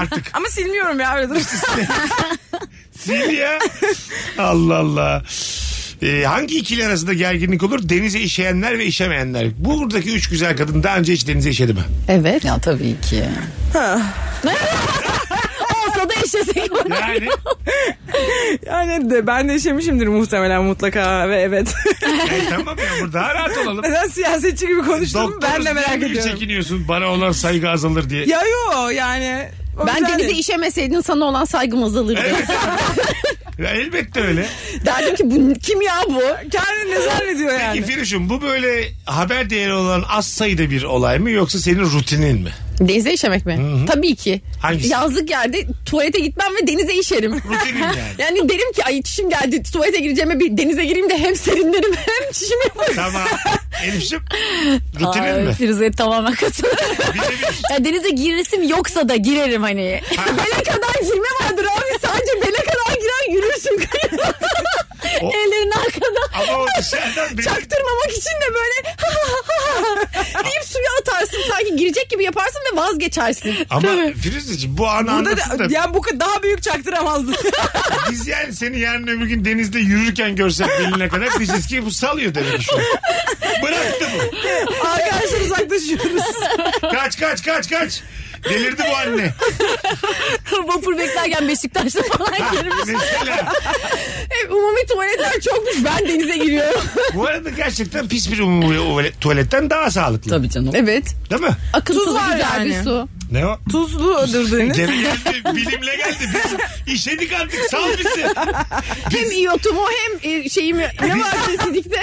S3: Artık.
S4: Ama silmiyorum ya öyle dur.
S3: Sil ya. Allah Allah. Ee, hangi ikili arasında gerginlik olur? Denize işeyenler ve işemeyenler. Buradaki üç güzel kadın daha önce hiç denize işedi mi?
S5: Evet.
S6: Ya tabii ki.
S5: Olsa da işesek.
S3: Yani
S4: yani de, ben de işemişimdir muhtemelen mutlaka ve evet.
S3: e, tamam ya burada daha rahat olalım.
S4: Neden siyasetçi gibi konuştum ben de
S3: Doktoruz
S4: merak
S3: diye mi
S4: ediyorum.
S3: çekiniyorsun bana olan saygı azalır diye.
S4: Ya yo yani. o
S5: Ben
S4: güzel
S5: denize
S4: değil.
S5: işemeseydin sana olan saygım azalırdı.
S3: Ya elbette öyle.
S5: Derdim ki bu kim ya bu?
S4: Kendini ne zannediyor
S3: Peki
S4: yani?
S3: E, Firuş'um bu böyle haber değeri olan az sayıda bir olay mı yoksa senin rutinin mi?
S5: Denize işemek mi? Tabii ki.
S3: Hangisi?
S5: Yazlık yerde tuvalete gitmem ve denize işerim.
S3: Rutinim yani.
S5: Yani derim ki ay çişim geldi tuvalete gireceğime bir denize gireyim de hem serinlerim hem çişimi yaparım.
S3: tamam. Elif'ciğim rutinin mi?
S6: Firuze tamamen katılıyorum.
S3: Bir de bir.
S6: Ya denize giresim yoksa da girerim hani.
S5: Bele kadar girme vardır abi sadece bele kadar girer yürürsün kıyıda.
S3: O-
S5: Ellerin arkada.
S3: Ama o dışarıdan benim...
S5: Çaktırmamak için de böyle deyip suya atarsın sanki girecek gibi yaparsın ve vazgeçersin.
S3: Ama Firuzeciğim bu anı
S4: Burada
S3: anlatıp da
S4: da, yani bu ka- daha büyük çaktıramazdı.
S3: biz yani seni yarın öbür gün denizde yürürken görsek beline kadar diyeceğiz ki bu salıyor demek şu. an. Bıraktı bu.
S4: Arkadaşlar uzaklaşıyoruz.
S3: Kaç kaç kaç kaç. Delirdi bu anne.
S6: Vapur beklerken Beşiktaş'ta falan girmiş.
S3: Mesela
S5: Hep umumi tuvaletler çokmuş ben denize giriyorum.
S3: bu arada gerçekten pis bir umumi tuvaletten daha sağlıklı.
S6: Tabii canım.
S5: evet.
S3: Değil mi?
S5: Akıntılı
S4: Tuz var
S5: güzel
S4: yani.
S5: bir su.
S3: Ne o?
S4: Tuzludur deniz.
S3: Geri geldi bilimle geldi. Biz işedik artık sal bizi.
S5: Hem iyotumu hem e, şeyimi ne var kesinlikle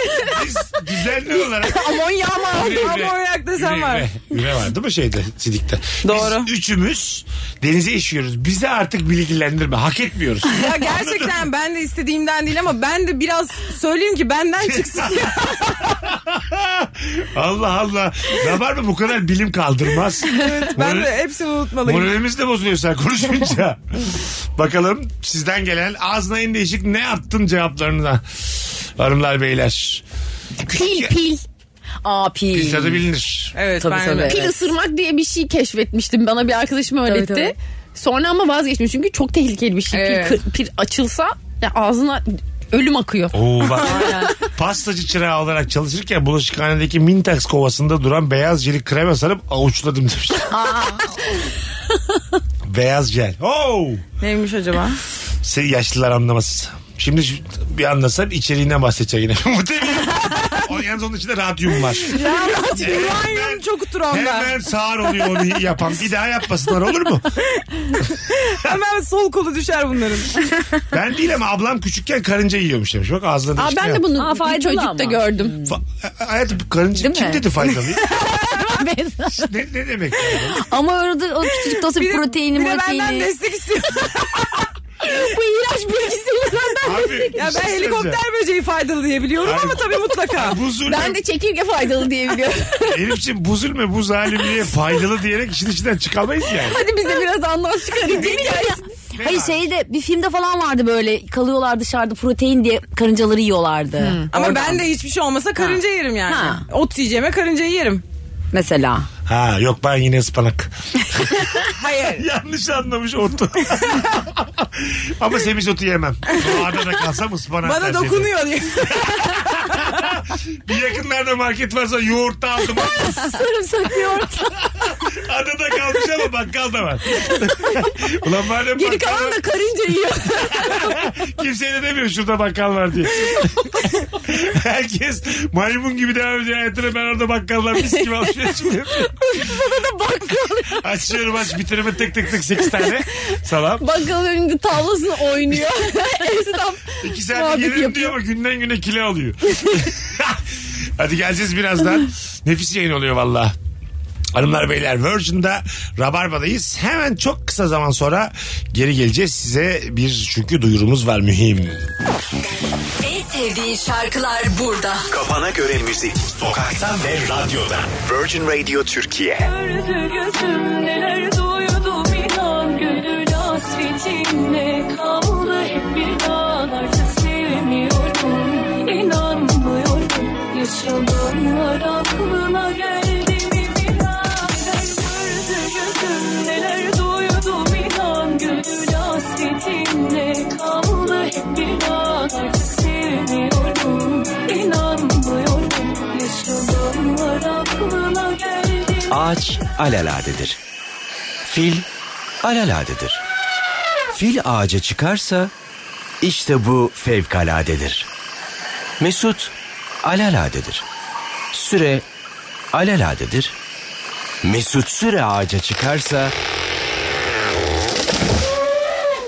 S3: Biz düzenli olarak.
S5: amonyağımı aldım.
S3: Üre, üre.
S4: Ama oraya desen
S3: Üre,
S4: var.
S3: üre. Üre var değil mi şeyde sidikte?
S4: Doğru.
S3: Biz üçümüz denize işiyoruz. Bizi artık bilgilendirme. Hak etmiyoruz.
S4: Ya gerçekten ben de istediğimden değil ama ben de biraz söyleyeyim ki benden çıksın.
S3: Allah Allah. Ne var mı bu kadar bilim kaldırmaz.
S4: ben
S3: Moral-
S4: de hepsini unutmalıyım.
S3: Moralimiz de bozuluyor sen konuşunca. Bakalım sizden gelen ağzına en değişik ne attın cevaplarına. Hanımlar beyler.
S6: Pil pil. Aa pil.
S3: Pil tadı bilinir.
S4: Evet
S6: Tabii,
S4: ben
S6: tabii.
S4: de.
S5: Pil ısırmak diye bir şey keşfetmiştim. Bana bir arkadaşım öğretti.
S6: tabii.
S5: Sonra ama vazgeçmiyor çünkü çok tehlikeli bir şey.
S4: Evet.
S5: Pir, kır- pir açılsa ya ağzına ölüm akıyor.
S3: Oo bak. Pastacı çırağı olarak çalışırken bulaşıkhanedeki Mintax kovasında duran beyaz jeli krema sarıp avuçladım demiş. beyaz jel. Oo.
S4: Neymiş acaba?
S3: Seni yaşlılar anlamaz. Şimdi şu- bir anlasan içeriğinden bahsedecek yine. Bu değil mi? O- Yalnız onun içinde radyum var.
S4: Uranyum çok onda.
S3: Hemen sağır oluyor onu yapan. Bir daha yapmasınlar olur mu?
S4: Hemen sol kolu düşer bunların.
S3: Ben değil ama ablam küçükken karınca yiyormuş demiş. Bak ağzına
S5: Aa, Hmm.
S3: demiş.
S5: ben de bunu
S6: Aa,
S5: bir
S6: faydalı
S5: çocukta
S6: ama.
S5: gördüm.
S3: Hayatım karınca
S6: Değil
S3: kim
S6: mi?
S3: dedi faydalı?
S6: Benzer.
S3: ne, ne demek? yani?
S6: Ama orada o küçücük dostu
S4: Bir de-
S6: proteini
S4: bir de benden
S6: proteini.
S4: destek istiyor.
S6: Bu iğrenç bilgisiyle benden.
S3: Abi,
S4: Ya
S3: bir şey
S4: ben helikopter
S3: söyleyeceğim.
S4: böceği faydalı diye biliyorum
S3: Abi-
S4: ama tabii mutlaka.
S3: Bu zulüm.
S5: Ben de çekirge faydalı diyebiliyorum.
S3: Elif'ciğim bu zulme bu zalimliğe faydalı diyerek işin içinden çıkamayız yani.
S5: Hadi bize biraz anlat çıkarın.
S3: Ne
S6: Hayır
S3: var?
S6: şeyde bir filmde falan vardı böyle kalıyorlar dışarıda protein diye karıncaları yiyorlardı.
S5: Hmm.
S4: Ama
S6: Oradan.
S4: ben de hiçbir şey olmasa karınca yerim yani.
S6: Ha.
S4: Ot yiyeceğime karıncayı yerim.
S6: Mesela.
S3: Ha yok ben yine ıspanak.
S4: Hayır.
S3: Yanlış anlamış otu. Ama semiz otu yemem. Doğada da kalsam ıspanak
S4: Bana
S3: tercih ederim.
S4: dokunuyor diye.
S3: Bir yakınlarda market varsa yoğurt da aldım.
S6: Sarımsaklı yoğurt.
S3: Adada kalmış ama bakkal da var. Ulan madem
S5: Geri
S3: bakkal
S5: kalan
S3: var,
S5: da karınca yiyor.
S3: kimseye de demiyor şurada bakkal var diye. Herkes maymun gibi devam ediyor hayatına ben orada bakkallar mis gibi alışveriş mi yapıyorum? Açıyorum aç bitirime tek tek tek 8 tane. Salam.
S5: Bakkalın önünde tavlasını oynuyor. Esnaf.
S3: İki saat
S5: Muhabbet
S3: yerim diyor
S5: yapıyor.
S3: ama günden güne kilo alıyor. Hadi geleceğiz birazdan. Nefis yayın oluyor valla. Hanımlar beyler Virgin'da Rabarba'dayız. Hemen çok kısa zaman sonra geri geleceğiz. Size bir çünkü duyurumuz var mühim.
S8: En sevdiğin şarkılar burada.
S2: Kafana göre müzik. Sokakta ve radyoda. Virgin Radio Türkiye.
S8: Gördü gözüm neler duydu bir an gönül hasretinde kaldı hep bir an artık sevmiyorum inanmıyorum yaşananlar aklına geldi mi bir an gördü gözüm neler duydu bir an gönül hasretinde kaldı hep bir an artık sevmiyorum inanmıyorum yaşananlar aklına geldi mi
S9: Ağaç alaladedir. Fil alaladedir. Fil ağaca çıkarsa işte bu fevkaladedir. Mesut alaladedir. Süre alaladedir. Mesut süre ağaca çıkarsa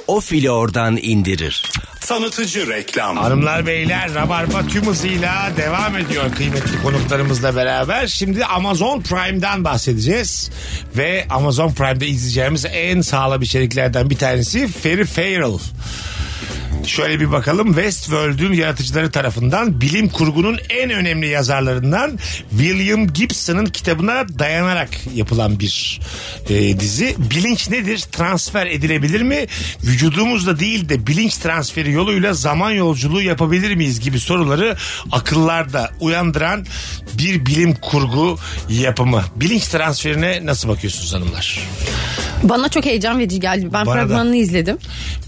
S9: o fili oradan indirir.
S2: Tanıtıcı reklam.
S3: Hanımlar beyler Rabarba tüm hızıyla devam ediyor kıymetli konuklarımızla beraber. Şimdi Amazon Prime'dan bahsedeceğiz. Ve Amazon Prime'de izleyeceğimiz en sağlam içeriklerden bir tanesi Ferry Farrell. Şöyle bir bakalım Westworld'ün yaratıcıları tarafından bilim kurgunun en önemli yazarlarından William Gibson'ın kitabına dayanarak yapılan bir e, dizi. Bilinç nedir? Transfer edilebilir mi? Vücudumuzda değil de bilinç transferi yoluyla zaman yolculuğu yapabilir miyiz gibi soruları akıllarda uyandıran bir bilim kurgu yapımı. Bilinç transferine nasıl bakıyorsunuz hanımlar?
S5: Bana çok heyecan verici geldi. Ben
S3: Bana da.
S5: fragmanını izledim.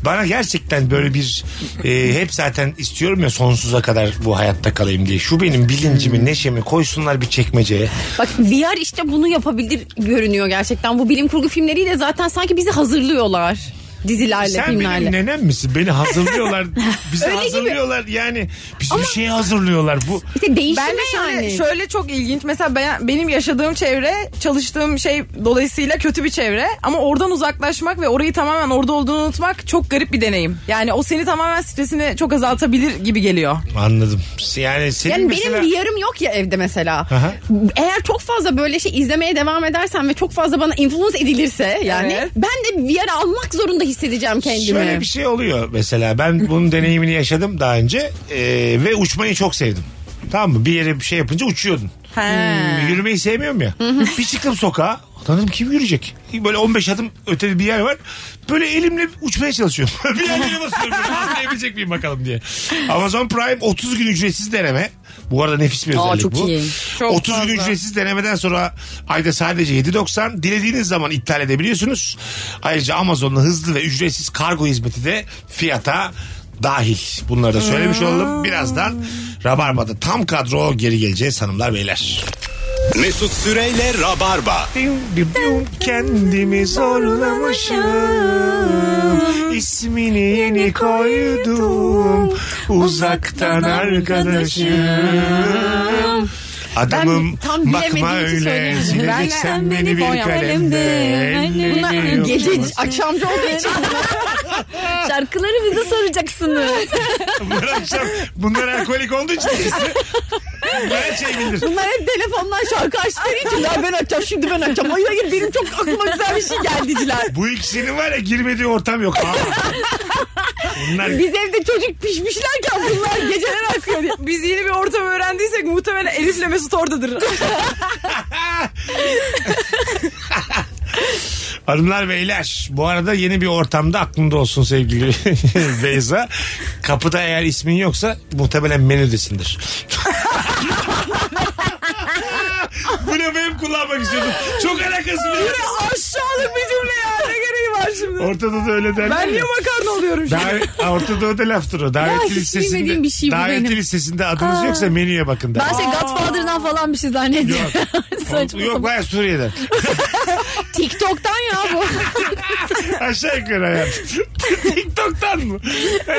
S3: Bana gerçekten böyle bir e, hep zaten istiyorum ya sonsuza kadar bu hayatta kalayım diye. Şu benim
S5: Hmm.
S3: bilincimi, neşemi koysunlar bir çekmeceye.
S5: Bak VR işte bunu yapabilir görünüyor gerçekten. Bu bilim kurgu filmleriyle zaten sanki bizi hazırlıyorlar. Dizilerle,
S3: Sen
S5: filmlerle.
S3: benim nenem misin? Beni hazırlıyorlar. Bizi
S5: Öyle gibi.
S3: hazırlıyorlar. Yani biz bir şey hazırlıyorlar. Bu
S5: İşte değişime
S4: Ben de şöyle,
S5: yani.
S4: şöyle çok ilginç. Mesela ben, benim yaşadığım çevre, çalıştığım şey dolayısıyla kötü bir çevre. Ama oradan uzaklaşmak ve orayı tamamen orada olduğunu unutmak çok garip bir deneyim. Yani o seni tamamen stresini çok azaltabilir gibi geliyor.
S3: anladım. Yani senin
S5: Yani
S3: mesela...
S5: benim VR'ım yok ya evde mesela.
S3: Aha.
S5: Eğer çok fazla böyle şey izlemeye devam edersem ve çok fazla bana influence edilirse yani
S4: Evet.
S5: ben de VR almak zorunda hissedeceğim kendimi.
S3: Şöyle bir şey oluyor mesela ben bunun deneyimini yaşadım daha önce e, ve uçmayı çok sevdim. Tamam mı? Bir yere bir şey yapınca uçuyordun. Hmm, Yürümeyi sevmiyorum ya. bir çıktım sokağa. Lan dedim kim yürüyecek? Böyle 15 adım ötede bir yer var. Böyle elimle uçmaya çalışıyorum. bir yerlere basıyorum. böyle, Atlayabilecek miyim bakalım diye. Amazon Prime 30 gün ücretsiz deneme. Bu arada nefis bir
S6: Aa,
S3: özellik
S6: çok
S3: bu.
S6: iyi.
S4: Çok
S3: 30 gün
S4: fazla.
S3: ücretsiz denemeden sonra ayda sadece 7.90 dilediğiniz zaman iptal edebiliyorsunuz. Ayrıca Amazon'da hızlı ve ücretsiz kargo hizmeti de fiyata dahil. Bunları da söylemiş
S4: Hmm.
S3: olalım. Birazdan Rabarba'da tam kadro geri geleceğiz hanımlar beyler.
S2: Mesut Süreyle Rabarba.
S3: Diyum, diyum, diyum, Kendimi zorlamışım İsmini yeni koydum Uzaktan arkadaşım Adamım
S5: Ben tam bilemediğim
S3: bakma
S5: için
S3: öyle
S5: söyleyemiyorum.
S3: Sileceksen beni bir kalemde
S5: Bunlar
S3: Ellerini
S5: gece
S3: okşamasın.
S5: akşamcı olduğu için
S6: Şarkıları bize soracaksınız.
S3: Bunlar akşam Bunlar alkolik olduğu için şey ikisi. Bunlar her şeyi bilir
S5: bunlar hep telefondan şarkı açtığı için ya ben açacağım şimdi ben açacağım. Hayır hayır benim çok aklıma güzel bir şey geldiciler.
S3: Bu ikisinin var ya girmediği ortam yok Aa. Bunlar
S5: Biz evde çocuk pişmişlerken bunlar geceler akıyor. diye.
S4: Biz yeni bir ortam öğrendiysek muhtemelen Elif'le Mesut oradadır.
S3: Hanımlar beyler bu arada yeni bir ortamda aklında olsun sevgili Beyza. Kapıda eğer ismin yoksa muhtemelen menüdesindir. bu lafı hep kullanmak istiyordum. Çok alakası var.
S4: Aşağılık bir cümle ya. Ne gereği var şimdi?
S3: Ortada da öyle derler.
S4: Ben
S3: ya.
S4: niye makarna oluyorum şimdi?
S3: Davet, Ortada da laftır o. Davetli
S5: hiç
S3: listesinde,
S5: bilmediğim bir şey bu
S3: davetli
S5: benim.
S3: listesinde adınız yoksa menüye bakın. der.
S6: Ben şey Godfather'dan falan bir şey zannediyorum. Saçma
S3: Yok
S6: sapan.
S3: baya Suriye'den.
S5: TikTok'tan ya bu.
S3: Aşağı yukarı hayatım. TikTok'tan mı?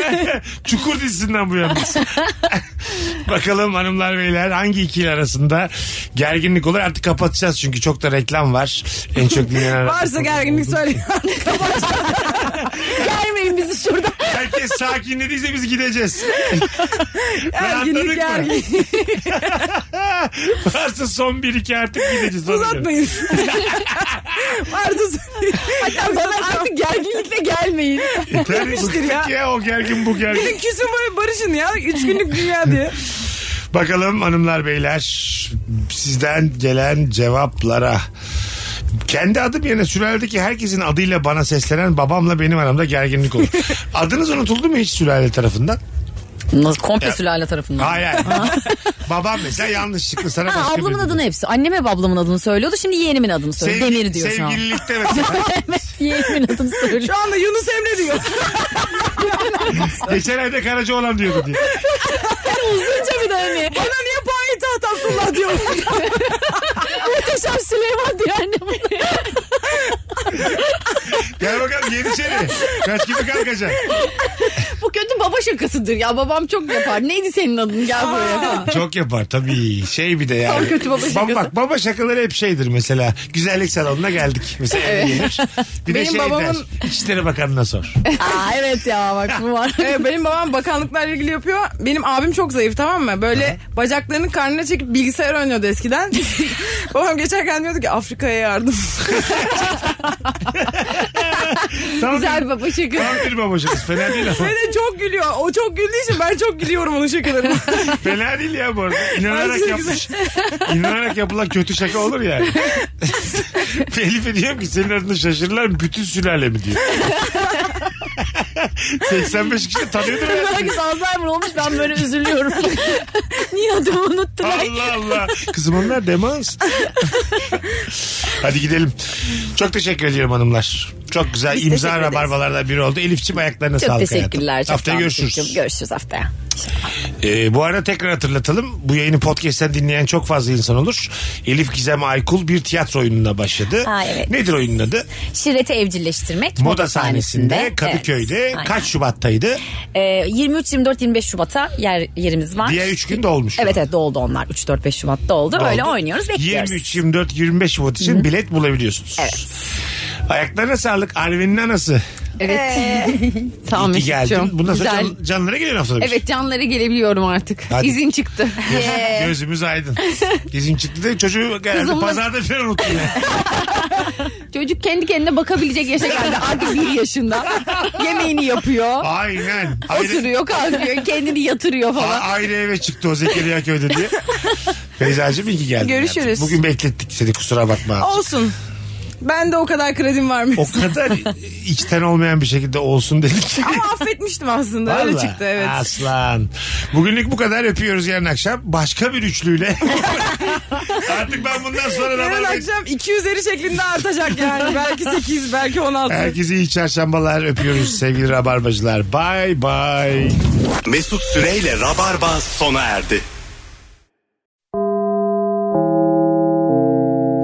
S3: Çukur dizisinden bu yalnız. Bakalım hanımlar beyler hangi ikili arasında gerginlik olur? Artık kapatacağız çünkü çok da reklam var. En çok dinlenen...
S4: Varsa gerginlik söyle.
S6: Gelmeyin bizi şurada.
S3: Herkes sakinlediyse biz gideceğiz. Rahatladık mı?
S4: Gerginlik gerginlik.
S3: Varsa son bir iki artık gideceğiz.
S4: Uzatmayın. Varsa Hatta bana artık
S5: Gerginlikle gelmeyin.
S3: Yeter
S4: ya.
S3: ya. ya o gergin bu gergin.
S4: Gidin küsün böyle barışın ya. Üç günlük dünya diye.
S3: Bakalım hanımlar beyler sizden gelen cevaplara. Kendi adım yerine sülaledeki herkesin adıyla bana seslenen babamla benim aramda gerginlik olur. Adınız unutuldu mu hiç sülale tarafından?
S6: Nasıl komple sülale tarafından.
S3: Hayır hayır. Babam mesela yanlışlıkla sana başka
S6: Ha, ablamın
S3: biri-
S6: adını hepsi. Annem hep ablamın adını söylüyordu. Şimdi yeğenimin adını söylüyor.
S3: Sevgi-
S6: Demir diyor şu an.
S3: Sevgililikte mesela.
S6: Yeğenimin adını söylüyor.
S4: Şu anda Yunus Emre diyor.
S3: Geçen ayda Karaca olan diyordu diye.
S6: Uzunca bir de hani.
S4: Bana niye payitaht Abdullah diyor.
S6: Muhteşem Süleyman diyor annem.
S3: Gel bakalım Yeniçeri. Kaç gibi kalkacak?
S5: Bu kötü baba şakasıdır ya babam çok yapar. Neydi senin adın gel buraya.
S3: Çok yapar tabii. Şey bir de yani.
S5: Tam kötü baba şakası.
S3: Bak baba şakaları hep şeydir mesela. Güzellik salonuna geldik. Mesela eve gelir. Bir de
S4: Benim
S3: şey
S4: babamın-
S3: der. İçişleri Bakanı'na sor.
S6: Aa evet ya bak bu var.
S4: Evet, benim babam bakanlıklarla ilgili yapıyor. Benim abim çok zayıf tamam mı? Böyle bacaklarını karnına çekip bilgisayar oynuyordu eskiden. babam geçerken diyordu ki Afrika'ya yardım.
S3: Tam
S5: Güzel
S3: bir,
S5: baba şakası.
S3: tam bir baba şakası. Fena değil ama.
S4: Ve de çok gülüyor. O çok güldüğü için ben çok gülüyorum onun şakalarına.
S3: Fena değil ya bu arada. İnanarak
S4: Ay, çok
S3: yapmış. İnanarak yapılan kötü şaka olur yani. Elif'e diyorum ki senin adını şaşırırlar mı? bütün sülale mi diyor. 85 kişi tanıyordur herhalde.
S6: Herkes Alzheimer olmuş ben böyle üzülüyorum. Niye adımı unuttular?
S3: Allah Allah. Kızım onlar demans. Hadi gidelim. Çok teşekkür ediyorum hanımlar. Çok güzel
S6: Biz
S3: imza
S6: teşekkür ederiz.
S3: rabarbalardan biri oldu. Elifçim ayaklarına
S6: Çok
S3: sağlık
S6: teşekkürler.
S3: hayatım.
S6: Çok sağ
S3: Haftaya
S6: olun
S3: görüşürüz.
S6: Türkçüm. Görüşürüz haftaya.
S3: Ee, bu arada tekrar hatırlatalım. Bu yayını podcast'ten dinleyen çok fazla insan olur. Elif Gizem Aykul bir tiyatro oyununa başladı.
S6: Ha, evet.
S3: Nedir oyunun adı?
S6: Şirreti evcilleştirmek.
S3: Moda sahnesinde Kadıköy'de.
S6: Evet, aynen.
S3: Kaç Şubat'taydı?
S6: Ee, 23, 24, 25 Şubat'a yer yerimiz var.
S3: Diğer üç gün dolmuş.
S6: Evet evet doldu onlar. 3, 4, 5 Şubat'ta oldu. Böyle
S3: Oldu.
S6: oynuyoruz bekliyoruz.
S3: 23, 24, 25 Şubat için bilet bulabiliyorsunuz.
S6: Evet.
S3: Ayaklarına sağlık. Arvin'in anası.
S5: Evet. Tamam
S3: İyi geldin.
S5: Mesut'cum.
S3: Bundan sonra
S5: Güzel.
S3: can- canlara geliyor haftada bir şey.
S5: Evet canlara gelebiliyorum artık.
S3: Hadi.
S5: İzin çıktı.
S3: Gözümüz aydın. Gezin çıktı da çocuğu herhalde
S5: Kızımla-
S3: pazarda falan unuttu. yani.
S5: Çocuk kendi kendine bakabilecek yaşa geldi. Artık bir yaşında. Yemeğini yapıyor.
S3: Aynen. Ayrı,
S5: Oturuyor kalkıyor. Kendini yatırıyor
S3: A-
S5: falan.
S3: ayrı eve çıktı o Zekeriya köyde diye. Beyza'cığım iyi ki geldin.
S4: Görüşürüz.
S3: hayatım. Bugün beklettik seni kusura bakma.
S4: Olsun. Ben de o kadar kredim var mı?
S3: O kadar içten olmayan bir şekilde olsun dedik.
S4: Ama affetmiştim aslında. Öyle
S3: Vallahi.
S4: çıktı evet.
S3: Aslan. Bugünlük bu kadar öpüyoruz yarın akşam. Başka bir üçlüyle. Artık ben bundan sonra
S4: Yarın
S3: Rabarba-
S4: akşam 250 şeklinde artacak yani. belki 8, belki 16.
S3: Herkese iyi çarşambalar öpüyoruz sevgili rabarbacılar. Bay bay.
S2: Mesut Süreyle Rabarba sona erdi.